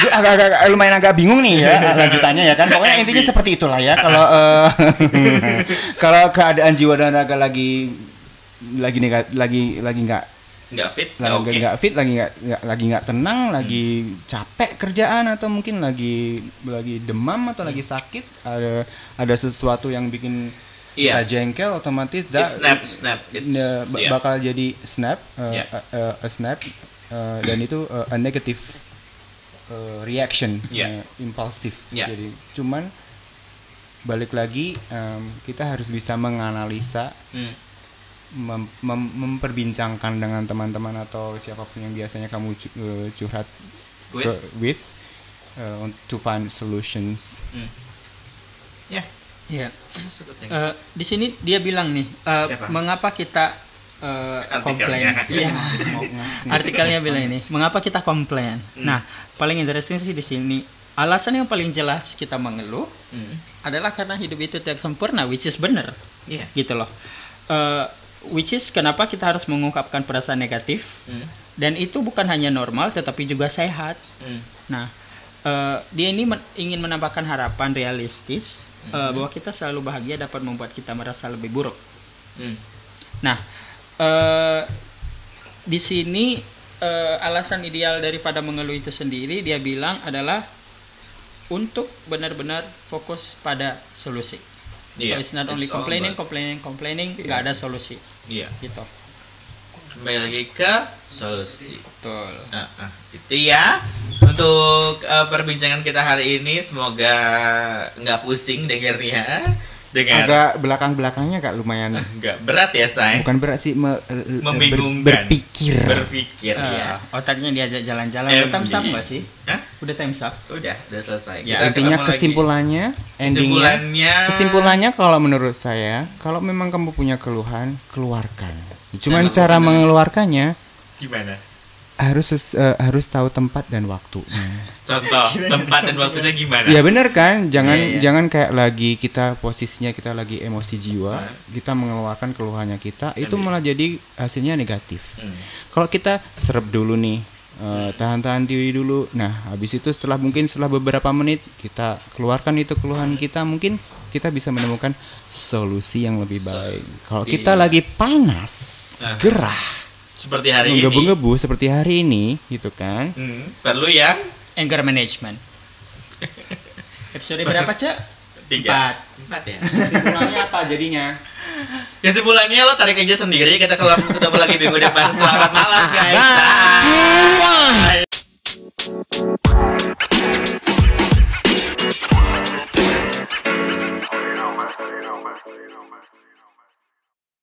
Gue agak, agak lumayan agak bingung nih ya lanjutannya ya kan. Pokoknya intinya seperti itulah ya. Kalau eh, kalau keadaan jiwa dan raga lagi lagi nega- lagi lagi nggak
nggak fit nggak Ya,
lagi
oke Hmm.
nggak fit lagi nggak nggak- lagi nggak tenang lagi capek kerjaan atau mungkin lagi lagi demam atau
Hmm.
lagi sakit ada ada sesuatu yang bikin
Iya.
kita jengkel otomatis dah-
It's snap, snap. It's,
Ya, ba-
yeah.
bakal jadi snap uh,
Yeah.
a- a- a snap uh, dan itu uh, a negative uh, reaction
Yeah.
uh, impulsif
Yeah.
jadi cuman balik lagi um, kita harus bisa menganalisa
Hmm.
mem- mem- memperbincangkan dengan teman-teman atau siapapun yang biasanya kamu cu- uh, curhat
With?
ke- with uh, on- to find solutions
hmm. Ya.
Ya.
Masuk ke tank.
Eh, di sini dia bilang nih, eh,
Siapa?
mengapa kita eh,
Artikelnya.
komplain? Iya. Artikelnya bilang ini, mengapa kita komplain?
Hmm.
Nah, paling interesting sih di sini. Alasan yang paling jelas kita mengeluh
Hmm.
adalah karena hidup itu tidak sempurna, which is benar,
Iya.
gitu loh. Eh, which is kenapa kita harus mengungkapkan perasaan negatif?
Hmm.
Dan itu bukan hanya normal, tetapi juga sehat.
Hmm.
Nah, eh, dia ini men- ingin menambahkan harapan realistis eh, bahwa kita selalu bahagia dapat membuat kita merasa lebih buruk.
Hmm.
Nah, eh, di sini eh, alasan ideal daripada mengeluh itu sendiri dia bilang adalah untuk benar-benar fokus pada solusi. So
Iya,
it's not only
it's all
complaining,
about-
complaining, complaining, nggak ada solusi
Iya.
gitu.
Kembali lagi ke solusi.
Betul.
Nah, ah, itu ya untuk eh, perbincangan kita hari ini semoga nggak pusing dengarnya dengan
agak belakang belakangnya agak lumayan
nggak berat ya say
bukan berat sih me- eh, ber-
membingungkan
berpikir Ah.
berpikir ya
Eh, otaknya diajak jalan-jalan.
MD.
Udah times up nggak sih?
Hah?
Udah times up.
udah udah selesai
Ya,
Kita
intinya
ketemu lagi.
kesimpulannya endingnya
kesimpulannya
kesimpulannya kalau menurut saya kalau memang kamu punya keluhan keluarkan cuman
Memang
cara
benar.
mengeluarkannya
gimana
harus ses- eh, harus tahu tempat dan waktunya
contoh tempat dan waktunya gimana
Ya benar kan, jangan
Nah. Iya, iya.
jangan kayak lagi kita posisinya kita lagi emosi jiwa, kita mengeluarkan keluhannya kita,
Iya,
itu malah jadi hasilnya negatif.
Hmm.
Kalau kita serap dulu nih, eh, tahan-tahan diri dulu. Nah, habis itu setelah mungkin setelah beberapa menit kita keluarkan itu keluhan kita, mungkin kita bisa menemukan solusi yang lebih baik. Kalau kita lagi panas,
Nah.
gerah,
seperti hari ini
menggebu-gebu seperti hari ini, gitu kan?
Hmm, perlu yang
Anger management. Episode berapa, Cak?
Tiga.
Empat.
Empat ya.
Kesimpulannya apa jadinya?
Kesimpulannya lo tarik aja sendiri. Kita kelam- ketemu lagi minggu depan. Selamat malam guys. Bye.
Wah.